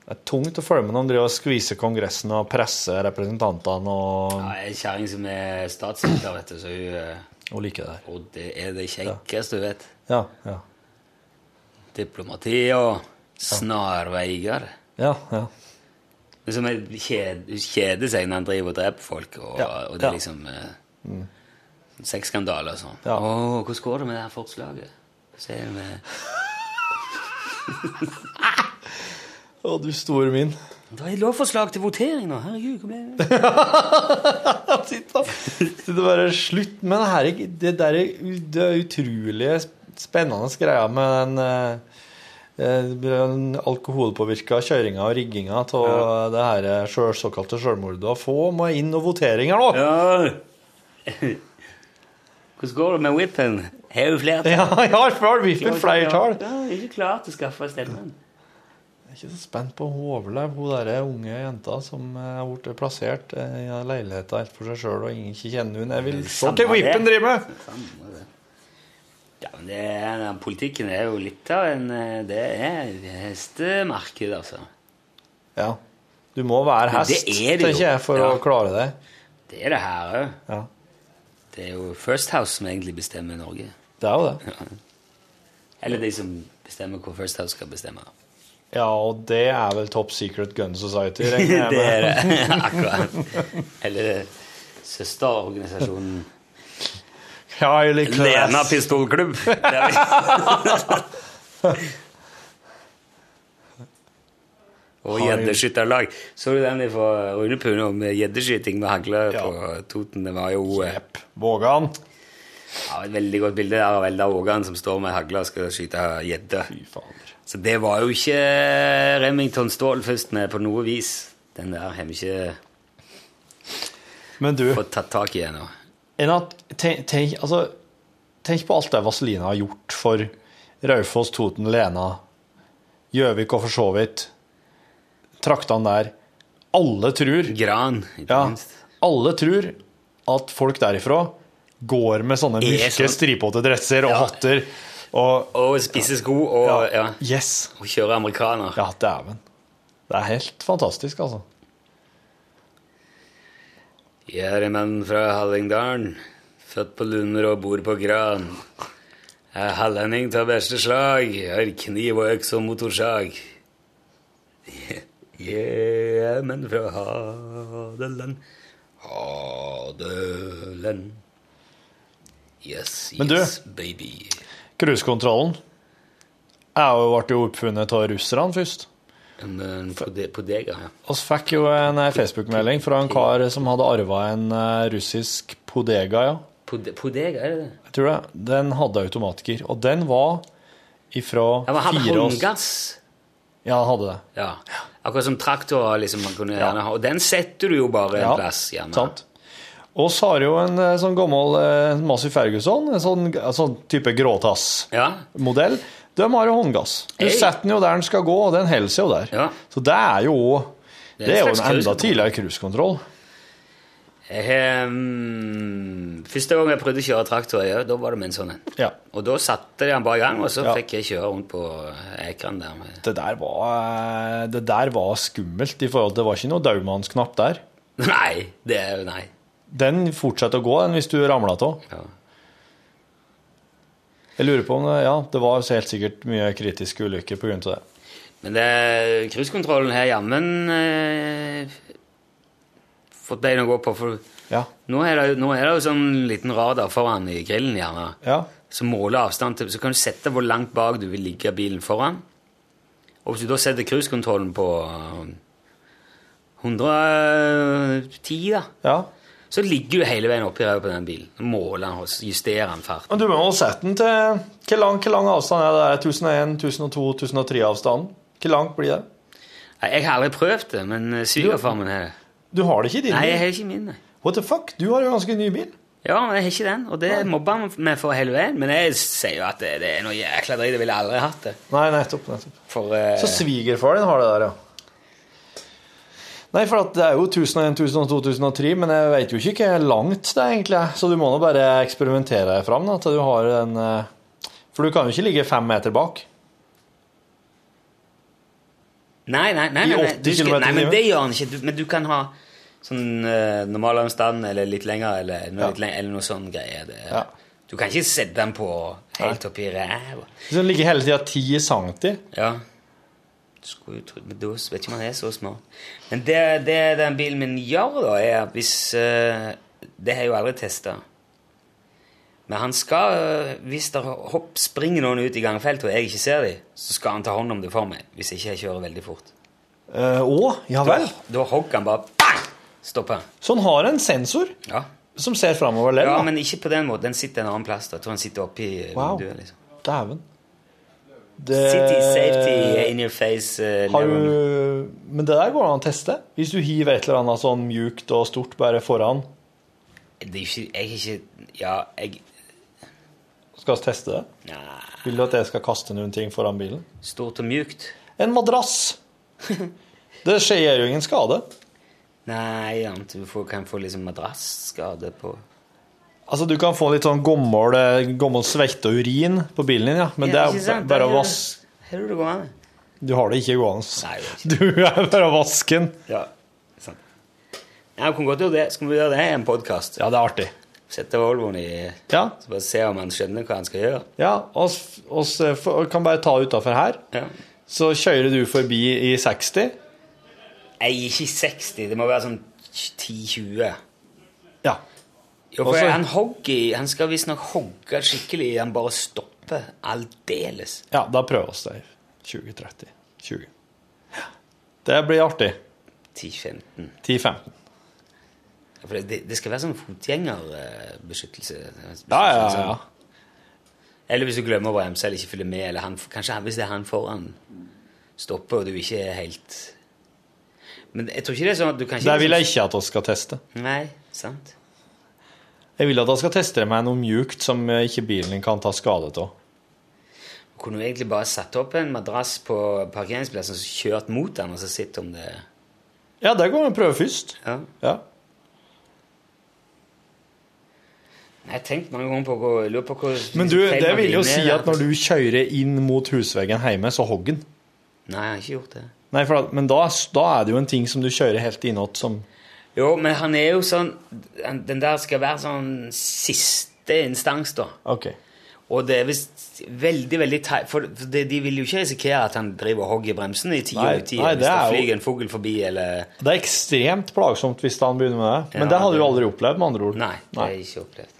Speaker 14: Det er tungt å følge med når de driver og skviser Kongressen og presser representantene og
Speaker 2: Ja, jeg er en kjerring som er statssekretær, vet du, så hun eh,
Speaker 14: Og liker det.
Speaker 2: Og det er det kjekkeste du vet.
Speaker 14: Ja. Ja.
Speaker 2: Diplomati og snarveier.
Speaker 14: ja, ja.
Speaker 2: Det er som en kjed- Hun kjeder seg når han driver og dreper folk, og,
Speaker 14: Ja,
Speaker 2: og det
Speaker 14: ja. Mm.
Speaker 2: er liksom eh, sexskandaler og sånn.
Speaker 14: Ja.
Speaker 2: Åh, hvordan går det med det her forslaget? Så er det med
Speaker 14: Å, du store min.
Speaker 2: Det er et lovforslag til votering nå! Herregud, hvor ble det
Speaker 14: [laughs] Så det bare slutt med det her Det der det utrolige spennende greia med den eh, eh, den alkoholpåvirka kjøringa og rigginga av det her eh, sjøl- såkalte sjølmordet. Få meg inn og voteringer nå!
Speaker 2: [laughs] Hvordan går det med whippen? Har hun flertall?
Speaker 14: [laughs] Ja, jeg har før vippen flertall.
Speaker 2: Ja, jeg er ikke klar til å skaffe stemmen.
Speaker 14: Jeg er ikke så spent på om hun overlever, hun derre unge jenta som eh, har blitt plassert eh, i en leilighet helt for seg sjøl, og ingen ikke kjenner hun. Jeg vil se
Speaker 2: Samme
Speaker 14: til whippen
Speaker 2: det.
Speaker 14: driver med!
Speaker 2: Samme det. Ja, men det er, den politikken er jo litt av en eh, Det er hestemarked, altså.
Speaker 14: Ja. Du må være
Speaker 2: Men
Speaker 14: hest,
Speaker 2: det er det jo.
Speaker 14: tenker jeg, for
Speaker 2: Ja.
Speaker 14: å klare det.
Speaker 2: Det er det her òg.
Speaker 14: Ja.
Speaker 2: Det er jo First House som egentlig bestemmer Norge.
Speaker 14: Det er jo det.
Speaker 2: Eller de som bestemmer hvor First House skal bestemme.
Speaker 14: Ja, og det er vel Top Secret Gun
Speaker 2: [laughs]
Speaker 14: Society,
Speaker 2: det
Speaker 14: regner jeg
Speaker 2: er
Speaker 14: med.
Speaker 2: det. Akkurat. Eller søsterorganisasjonen
Speaker 14: Kylie Class.
Speaker 2: Lena
Speaker 14: [laughs]
Speaker 2: Pistolklubb. Det er vi. Og gjeddeskytterlag. Så du den fra Rune Pune om gjeddeskyting med hagle på Toten? Det var jo eh,
Speaker 14: Vågan.
Speaker 2: ja, et veldig godt bilde der av Eldar Vågan som står med hagle og skal skyte gjedde. Så det var jo ikke Remington Stål først med på noe vis. Den der har vi ikke
Speaker 14: Men du,
Speaker 2: fått tatt tak i ennå.
Speaker 14: en at, tenk, tenk, altså, tenk på alt det Vazelina har gjort for Raufoss, Toten, Lena, Gjøvik og for så vidt. Traktene der. Alle tror
Speaker 2: Gran, ikke
Speaker 14: ja, Alle tror at folk derifra går med sånne
Speaker 2: Er
Speaker 14: mørke,
Speaker 2: sånn-
Speaker 14: stripete dresser og hatter. Og,
Speaker 2: Og spisse sko og ja.
Speaker 14: Yes.
Speaker 2: Og kjøre amerikaner.
Speaker 14: Ja, dæven. Det er helt fantastisk, altså.
Speaker 2: Jeg er en mann fra Hallingdalen, født på Lunder og bor på Gran. Jeg er hallending av beste slag, jeg har kniv og øks og motorsag. Jeg er en mann fra Hadeland, Hadeland. Yes,
Speaker 14: Men du-
Speaker 2: yes, baby.
Speaker 14: Cruisekontrollen er jo- ble jo oppfunnet av russerne først.
Speaker 2: Men på, de, på deg, ja.
Speaker 14: oss fikk jo en eh, Facebook-melding fra en kar som hadde arva en eh, russisk Podega, ja.
Speaker 2: På, de, på deg, er det det?
Speaker 14: Jeg tror det. Den hadde automatgir, og den var ifra
Speaker 2: Ja, men hadde
Speaker 14: fire års-
Speaker 2: håndgass?
Speaker 14: Ja, han hadde det.
Speaker 2: Ja. Akkurat som traktorer, liksom. Man kunne gjerne ha. Og den setter du jo bare en
Speaker 14: Ja,
Speaker 2: plass, gjerne.
Speaker 14: Sant. Og så har jo en eh, sånn gammel eh, Massey Ferguson, en sånn, en sånn type gråtass-modell, de har jo håndgass. Du
Speaker 2: Hey.
Speaker 14: setter den jo der den skal gå, og den holder seg jo der. Så det er jo
Speaker 2: Det
Speaker 14: Det
Speaker 2: er
Speaker 14: er
Speaker 2: en
Speaker 14: jo
Speaker 2: slags
Speaker 14: en enda
Speaker 2: cruisekontroll.
Speaker 14: tidligere cruisekontroll.
Speaker 2: Jeg, har, mm, første gang jeg prøvde å kjøre traktor, ja, da var det med en sånn en.
Speaker 14: Ja.
Speaker 2: Og da satte de den bare i gang, og så fikk jeg kjøre rundt på ekran der. Med. [laughs]
Speaker 14: Det der var, eh, det der var skummelt i forhold til Det var ikke noe daumannsknapp der.
Speaker 2: Nei, det er Nei.
Speaker 14: Den fortsetter å gå, den, hvis du ramla av. Jeg lurer på om det, ja, det var helt sikkert mye kritiske ulykker pga. det.
Speaker 2: Men det, cruisekontrollen her jammen eh, fått bein å gå på. For
Speaker 14: Ja.
Speaker 2: nå, er det, jo- nå er det jo sånn liten radar foran i grillen, gjerne.
Speaker 14: Ja.
Speaker 2: Som måler avstand til Så kan du sette hvor langt bak du vil ligge bilen foran. Og hvis du da setter cruisekontrollen på eh, 110, da, så ligger du hele veien oppi ræva på den bilen. Måler den og justerer den fart.
Speaker 14: Men du må jo sette den til Hvor lang, hvor lang avstand er det? der? 1001, 1002, 1003-avstanden? Hvor langt blir det?
Speaker 2: Nei, Jeg har aldri prøvd det, men eh, svigerfar min har det.
Speaker 14: Du har det ikke i din
Speaker 2: Nei, jeg
Speaker 14: bil?
Speaker 2: har ikke min. Nei.
Speaker 14: What the fuck? Du har jo ganske ny bil.
Speaker 2: Ja, men jeg har ikke den, og det mobber han meg for hele veien. Men jeg sier jo at det, det er noe jækla dritt, jeg ville aldri hatt det.
Speaker 14: Nei, nettopp. nettopp.
Speaker 2: For, eh,
Speaker 14: Så svigerfar din har det der, ja. Nei, for at det er jo 1001, 1002, 2003, men jeg vet jo ikke hvor langt det egentlig er. Så du må nå bare eksperimentere deg fram da, til du har en eh, For du kan jo ikke ligge fem meter bak.
Speaker 2: Nei, nei, nei,
Speaker 14: I
Speaker 2: nei, nei,
Speaker 14: 80
Speaker 2: du skal,
Speaker 14: kilometer
Speaker 2: nei
Speaker 14: i
Speaker 2: men
Speaker 14: timen?
Speaker 2: det gjør han ikke. Du, men du kan ha sånn eh, normal avstand eller litt lenger eller noe, litt lenger, eller noe sånn greie. Det, Du kan ikke sette den på helt oppi ræva.
Speaker 14: Hvis den ligger hele tida 10 cm.
Speaker 2: Ja. Skulle jo trodd Men da vet ikke om han er så smart. Men det, det den bilen min gjør, da, er at hvis eh, Det har jeg jo aldri testa. Men han skal, eh, hvis der hopp, springer noen ut i gangfeltet og jeg ikke ser dem, så skal han ta hånd om det for meg. Hvis ikke jeg kjører veldig fort.
Speaker 14: Eh, å, ja vel.
Speaker 2: Da hogger han bare bang! Stopper.
Speaker 14: Så han har en sensor
Speaker 2: Ja.
Speaker 14: som ser framover lell?
Speaker 2: ja,
Speaker 14: da?
Speaker 2: men ikke på den måten. Den sitter en annen plass. da. Jeg tror han sitter oppi eh,
Speaker 14: Wow.
Speaker 2: vinduet. liksom.
Speaker 14: Dæven.
Speaker 2: City safety in your face. eh,
Speaker 14: Har
Speaker 2: Leon.
Speaker 14: du Men det der går an å teste. Hvis du hiver et eller annet sånn mjukt og stort bare foran,
Speaker 2: Det er ikke, jeg er ikke Ja, jeg
Speaker 14: skal vi teste det?
Speaker 2: Nei.
Speaker 14: Vil du at jeg skal kaste noen ting foran bilen?
Speaker 2: Stort og mjukt?
Speaker 14: En [laughs] madrass! det skjer jo ingen skade.
Speaker 2: Nei, annet du får, kan få liksom madrassskade på
Speaker 14: Altså, du kan få litt sånn gammel, gammel svette og urin på bilen din, ja. Men
Speaker 2: Ja, ikke
Speaker 14: det er
Speaker 2: sant?
Speaker 14: jo bare å
Speaker 2: Her-
Speaker 14: vaske
Speaker 2: Her er det gående.
Speaker 14: Du har det ikke gående. [laughs] Du er bare å vaske den.
Speaker 2: Ja, sant. Nei, vi kan godt gjøre det. Skal vi gjøre det i en podkast?
Speaker 14: Ja, det er artig.
Speaker 2: Sette Volvoen i
Speaker 14: Ja.
Speaker 2: Så bare se om han skjønner hva han skal gjøre.
Speaker 14: Ja, oss, oss eh, for- kan bare ta utafor her. Så kjører du forbi i 60.
Speaker 2: Jeg er ikke 60, det må være sånn 10-20.
Speaker 14: Ja.
Speaker 2: Jo,
Speaker 14: Og
Speaker 2: for
Speaker 14: så-
Speaker 2: han hogger i Han skal visstnok hogge skikkelig. Han bare stopper aldeles.
Speaker 14: Ja, da prøver oss der. 20-30. 20. Det blir artig.
Speaker 2: 10-15.
Speaker 14: 10-15.
Speaker 2: Ja, For det, det skal være sånn fotgjengerbeskyttelse. Sånn
Speaker 14: Ja, ja, ja, ja.
Speaker 2: Eller hvis du glemmer å bremse eller ikke følger med, eller han, kanskje han, hvis det er han foran stopper, og du ikke er helt Men jeg tror ikke det er sånn at du kan
Speaker 14: Det vil jeg ikke at vi skal teste.
Speaker 2: Nei, sant.
Speaker 14: Jeg vil at vi skal teste det med noe mjukt som eh, ikke bilen din kan ta skade av.
Speaker 2: Kunne du egentlig bare satt opp en madrass på parkeringsplassen og så kjørt mot den, og så sett om det
Speaker 14: Ja, det går an å prøve først.
Speaker 2: Ja.
Speaker 14: Ja.
Speaker 2: Jeg har tenkt mange ganger på å gå jeg lurer på hvor
Speaker 14: Men du,
Speaker 2: feil
Speaker 14: det
Speaker 2: man
Speaker 14: vil jo
Speaker 2: vinner,
Speaker 14: si
Speaker 2: eller-
Speaker 14: at når du kjører inn mot husveggen hjemme, så hogg den.
Speaker 2: Nei, jeg har ikke gjort det.
Speaker 14: Nei, for, da- men da, da er det jo en ting som du kjører helt innåt som
Speaker 2: Jo, men han er jo sånn han- Den der skal være sånn siste instans, da.
Speaker 14: Ok.
Speaker 2: Og det er visst veldig, veldig teit For for det, de vil jo ikke risikere at han driver og hogger i bremsen i ti
Speaker 14: Nei,
Speaker 2: år i ti
Speaker 14: nei,
Speaker 2: hvis
Speaker 14: det
Speaker 2: det
Speaker 14: er jo-
Speaker 2: flyr en fugl forbi, eller
Speaker 14: Det er ekstremt plagsomt hvis han begynner med det. Men
Speaker 2: Ja,
Speaker 14: det hadde
Speaker 2: det-
Speaker 14: du aldri opplevd, med andre ord.
Speaker 2: Nei, det har jeg ikke opplevd.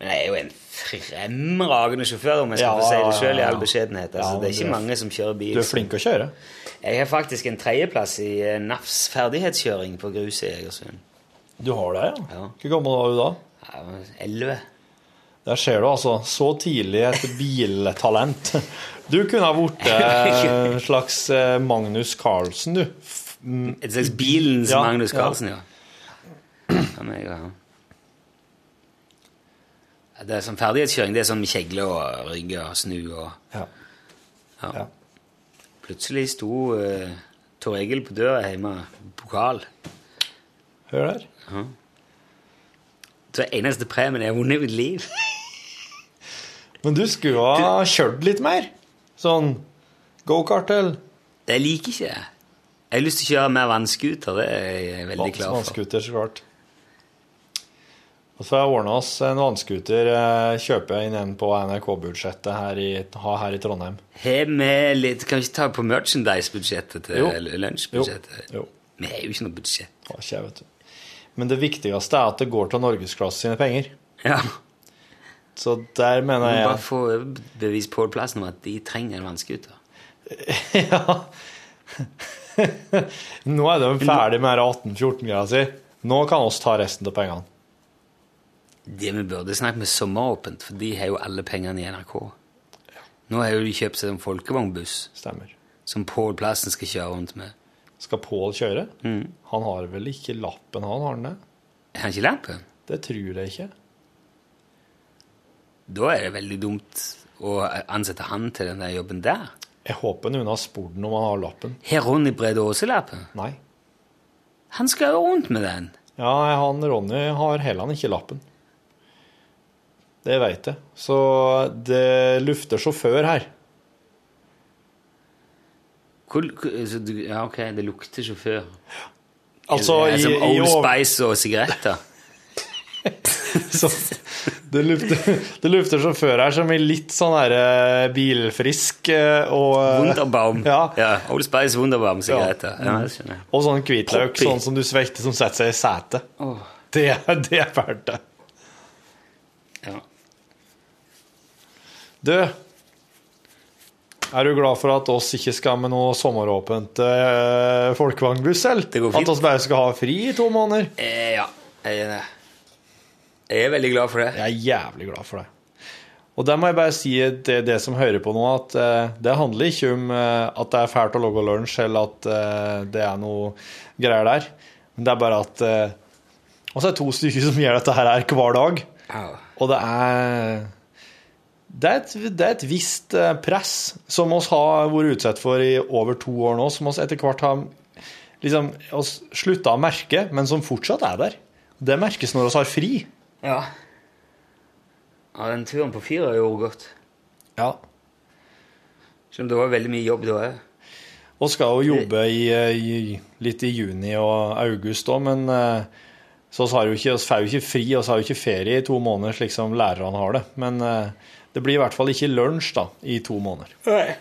Speaker 2: Men jeg er jo en fremragende sjåfør, om jeg skal
Speaker 19: Ja,
Speaker 2: få si
Speaker 19: ja,
Speaker 2: det
Speaker 19: ja,
Speaker 2: sjøl, i
Speaker 19: ja.
Speaker 2: all beskjedenhet. Altså,
Speaker 19: Ja,
Speaker 2: det
Speaker 19: du
Speaker 2: er ikke
Speaker 19: er-
Speaker 2: mange som kjører bil.
Speaker 19: du er flink
Speaker 2: til å kjøre. Jeg har faktisk en tredjeplass i eh, NAFs ferdighetskjøring på grus i Egersund.
Speaker 14: Du har det, ja? Hvor gammel var du da?
Speaker 2: Elleve.
Speaker 14: Der ser du, altså. Så tidlig et biltalent. [laughs] Du kunne ha [laughs] blitt en slags eh, Magnus Carlsen, du. F- mm.
Speaker 2: Et slags bilens
Speaker 14: Ja,
Speaker 2: Magnus
Speaker 14: ja.
Speaker 2: Carlsen, ja. ja. men jeg har- Ja, Det er sånn ferdighetskjøring. Det er sånn med kjegle og rygge og snu og
Speaker 14: Ja.
Speaker 2: Ja. Plutselig sto uh, Tor Egil på døra hjemme, pokal.
Speaker 14: Hør der.
Speaker 2: Ja. Så eneste premien jeg har vunnet i mitt liv.
Speaker 14: Men du skulle ha kjørt litt mer. Sånn gokart eller
Speaker 2: Det liker ikke jeg. Jeg har lyst til å kjøre mer vannskuter. Det er jeg veldig klar for.
Speaker 14: Vannskuter, så klart. altså. Og så har jeg ordna oss en vannskuter. eh, Kjøper jeg inn en på NRK-budsjettet her, i- ha her i Trondheim.
Speaker 2: Har vi litt Kan vi ikke ta på merchandise-budsjettet til
Speaker 14: Jo.
Speaker 2: eller lunsjbudsjettet? Vi har jo ikke noe budsjett.
Speaker 14: Har ikke jeg, vet du. Men det viktigste er at det går til norgesklasse sine penger.
Speaker 2: Ja.
Speaker 14: Så der
Speaker 2: Vi må
Speaker 14: mener
Speaker 2: bare
Speaker 14: [laughs] jeg
Speaker 2: få bevis på plassen om at de trenger en vannskuter.
Speaker 14: [laughs] Nå er de ferdig med 18-14-greia si. Nå kan oss ta resten av pengene.
Speaker 2: Det vi burde snakke med Sommeråpent, for de har jo alle pengene i NRK. Nå har jo de kjøpt seg en folkevognbuss.
Speaker 14: Stemmer.
Speaker 2: Som Pål Plassen skal kjøre rundt med.
Speaker 14: Skal Pål kjøre? Han har vel ikke lappen, han? Har han det?
Speaker 2: Har han ikke lappen?
Speaker 14: Det tror jeg ikke.
Speaker 2: Da er det veldig dumt å ansette han til den der jobben der.
Speaker 14: Jeg håper noen har spurt ham om han har lappen.
Speaker 2: Har Ronny Brede Aase-lappen?
Speaker 14: Nei.
Speaker 2: Han skal jo rundt med den.
Speaker 14: Ja, han Ronny har heller ikke lappen. Det veit jeg. Så det lufter sjåfør her.
Speaker 2: Hvor, hvor, så du, ja, ok, det lukter sjåfør.
Speaker 14: Altså,
Speaker 2: Eller,
Speaker 14: i-
Speaker 2: som
Speaker 14: i
Speaker 2: Old
Speaker 14: år-
Speaker 2: Spice og sigaretter.
Speaker 14: Så det lufter, det lufter sjåfør her som i litt sånn her eh, bilfrisk eh, og eh,
Speaker 2: Wunderbaum.
Speaker 14: [laughs] Ja.
Speaker 2: Old Spice Wunderbaum sigaretter. Ja.
Speaker 14: Mm.
Speaker 2: det skjønner jeg.
Speaker 14: Og sånn hvitløk,
Speaker 2: Poppy.
Speaker 14: sånn som du svelter, som setter seg i setet.
Speaker 2: Åh.
Speaker 14: Det, er- det er verdt det.
Speaker 2: Ja.
Speaker 14: Du, er du glad for at oss ikke skal med noe sommeråpent eh, folkevognbuss, eller?
Speaker 2: går fint.
Speaker 14: At oss bare skal ha fri i to måneder?
Speaker 2: Eh, ja. Jeg, er det. jeg er veldig glad for det.
Speaker 14: Jeg er jævlig glad for det. Og der må jeg bare si til det som hører på nå, at eh, det handler ikke om eh, at det er fælt å logge lunsj, eller at eh, det er noe greier der. Men det er bare at eh, Og så er det to [laughs] stykker som gjør dette her her hver dag. Og det er det er, et, det er et visst eh, press som oss har vært utsatt for i over to år nå, som oss etter hvert har liksom, oss slutta å merke, men som fortsatt er der. Det merkes når vi har fri.
Speaker 2: Ja. ja. Den turen på fire gjorde godt.
Speaker 14: Ja.
Speaker 2: Selv om det var veldig mye jobb da òg.
Speaker 14: Og skal jo jobbe i, eh, i, litt i juni og august òg, men eh, så oss har jo ikke, oss får jo ikke fri og har jo ikke ferie i to måneder, slik som lærerne har det. Men eh, det blir i hvert fall ikke lunsj da, i to måneder.
Speaker 2: Kan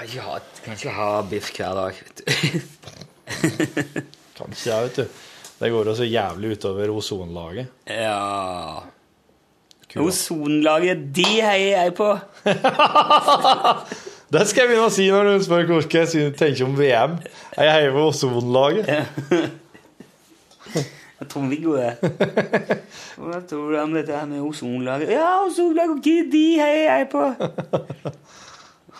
Speaker 2: ikke ha, kan ikke ha biff hver dag. vet du. [laughs]
Speaker 14: Kan ikke jeg, vet du. Det går jo så jævlig utover ozonlaget.
Speaker 2: Ja Ozonlaget, de heier jeg på!
Speaker 14: Det skal jeg begynne å si når du spør hvor skal jeg synes- tenke om VM. Jeg heier på ozonlaget.
Speaker 2: Trond-Viggo, det.
Speaker 14: [laughs]
Speaker 2: Hva tror du om dette her med ozonlaget? Ja, ozonlaget, de, de heier jeg på!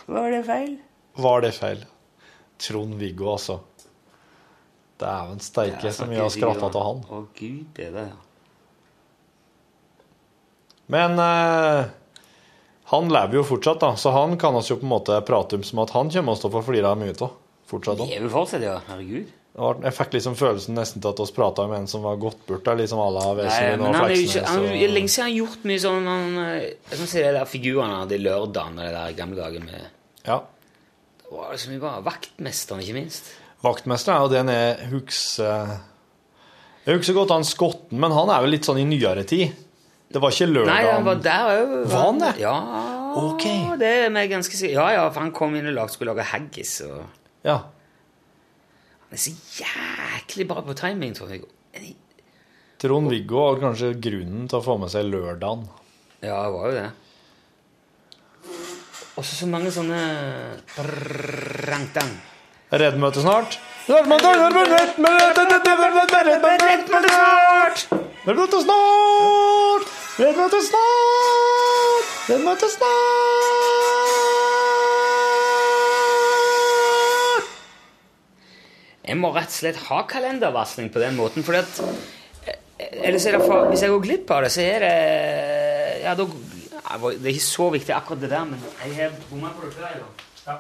Speaker 2: Var det
Speaker 14: [laughs]
Speaker 2: feil?
Speaker 14: Var det feil? Trond-Viggo, altså. Dæven steike, så mye jeg har skratta av han.
Speaker 2: Å, gud bedre, ja.
Speaker 14: Men eh, han lever jo fortsatt, da, så han kan oss jo på en måte prate om som at han kommer oss til å få flire av mye av. Fortsatt. da.
Speaker 2: Lever fortsatt, ja. Herregud.
Speaker 14: Det var- Jeg fikk liksom følelsen nesten til at oss prata med en som var gått bort der, liksom à la
Speaker 2: Nei,
Speaker 14: Weselin
Speaker 2: men
Speaker 14: og
Speaker 2: han er jo ikke
Speaker 14: Fleksnes.
Speaker 2: han,
Speaker 14: og-
Speaker 2: Lenge siden han har gjort mye sånn han, eh, Sånn som de der figurene han hadde i lørdagen og de der gamle dager med
Speaker 14: Ja.
Speaker 2: Det var liksom vi var vaktmesteren, ikke minst.
Speaker 14: Vaktmesteren er jo den jeg husker Jeg husker godt han skotten, men han er vel litt sånn i nyere tid. Det var ikke lørdag
Speaker 2: Nei, han var der òg.
Speaker 14: Var han det?
Speaker 2: Ja, det er vi ganske sikre Ja, ja, for han kom inn og lag, skulle lage haggis og
Speaker 14: Ja.
Speaker 2: Han er så jæklig bra på timing, tror jeg.
Speaker 14: Trond-Viggo var kanskje grunnen til å få med seg lørdagen.
Speaker 2: Ja, det var jo det. Også så mange sånne Rangtang.
Speaker 14: Reddmøte snart. Reddmøte snart! Reddmøte snart! Reddmøte snart! Reddmøte snart!
Speaker 2: Jeg må rett og slett ha kalendervarsling på den måten, for at Eller så er det for, hvis jeg går glipp av det, så er det Ja, da ja, Det er ikke så viktig akkurat det der, men jeg har bomma på det før. jeg, da.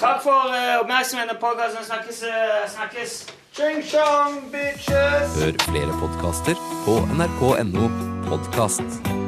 Speaker 2: Takk for eh, oppmerksomheten på podkasten. Snakkes. eh, snakkes.
Speaker 14: Ching-chong, bitches!
Speaker 10: Hør flere podkaster på nrk.no podkast.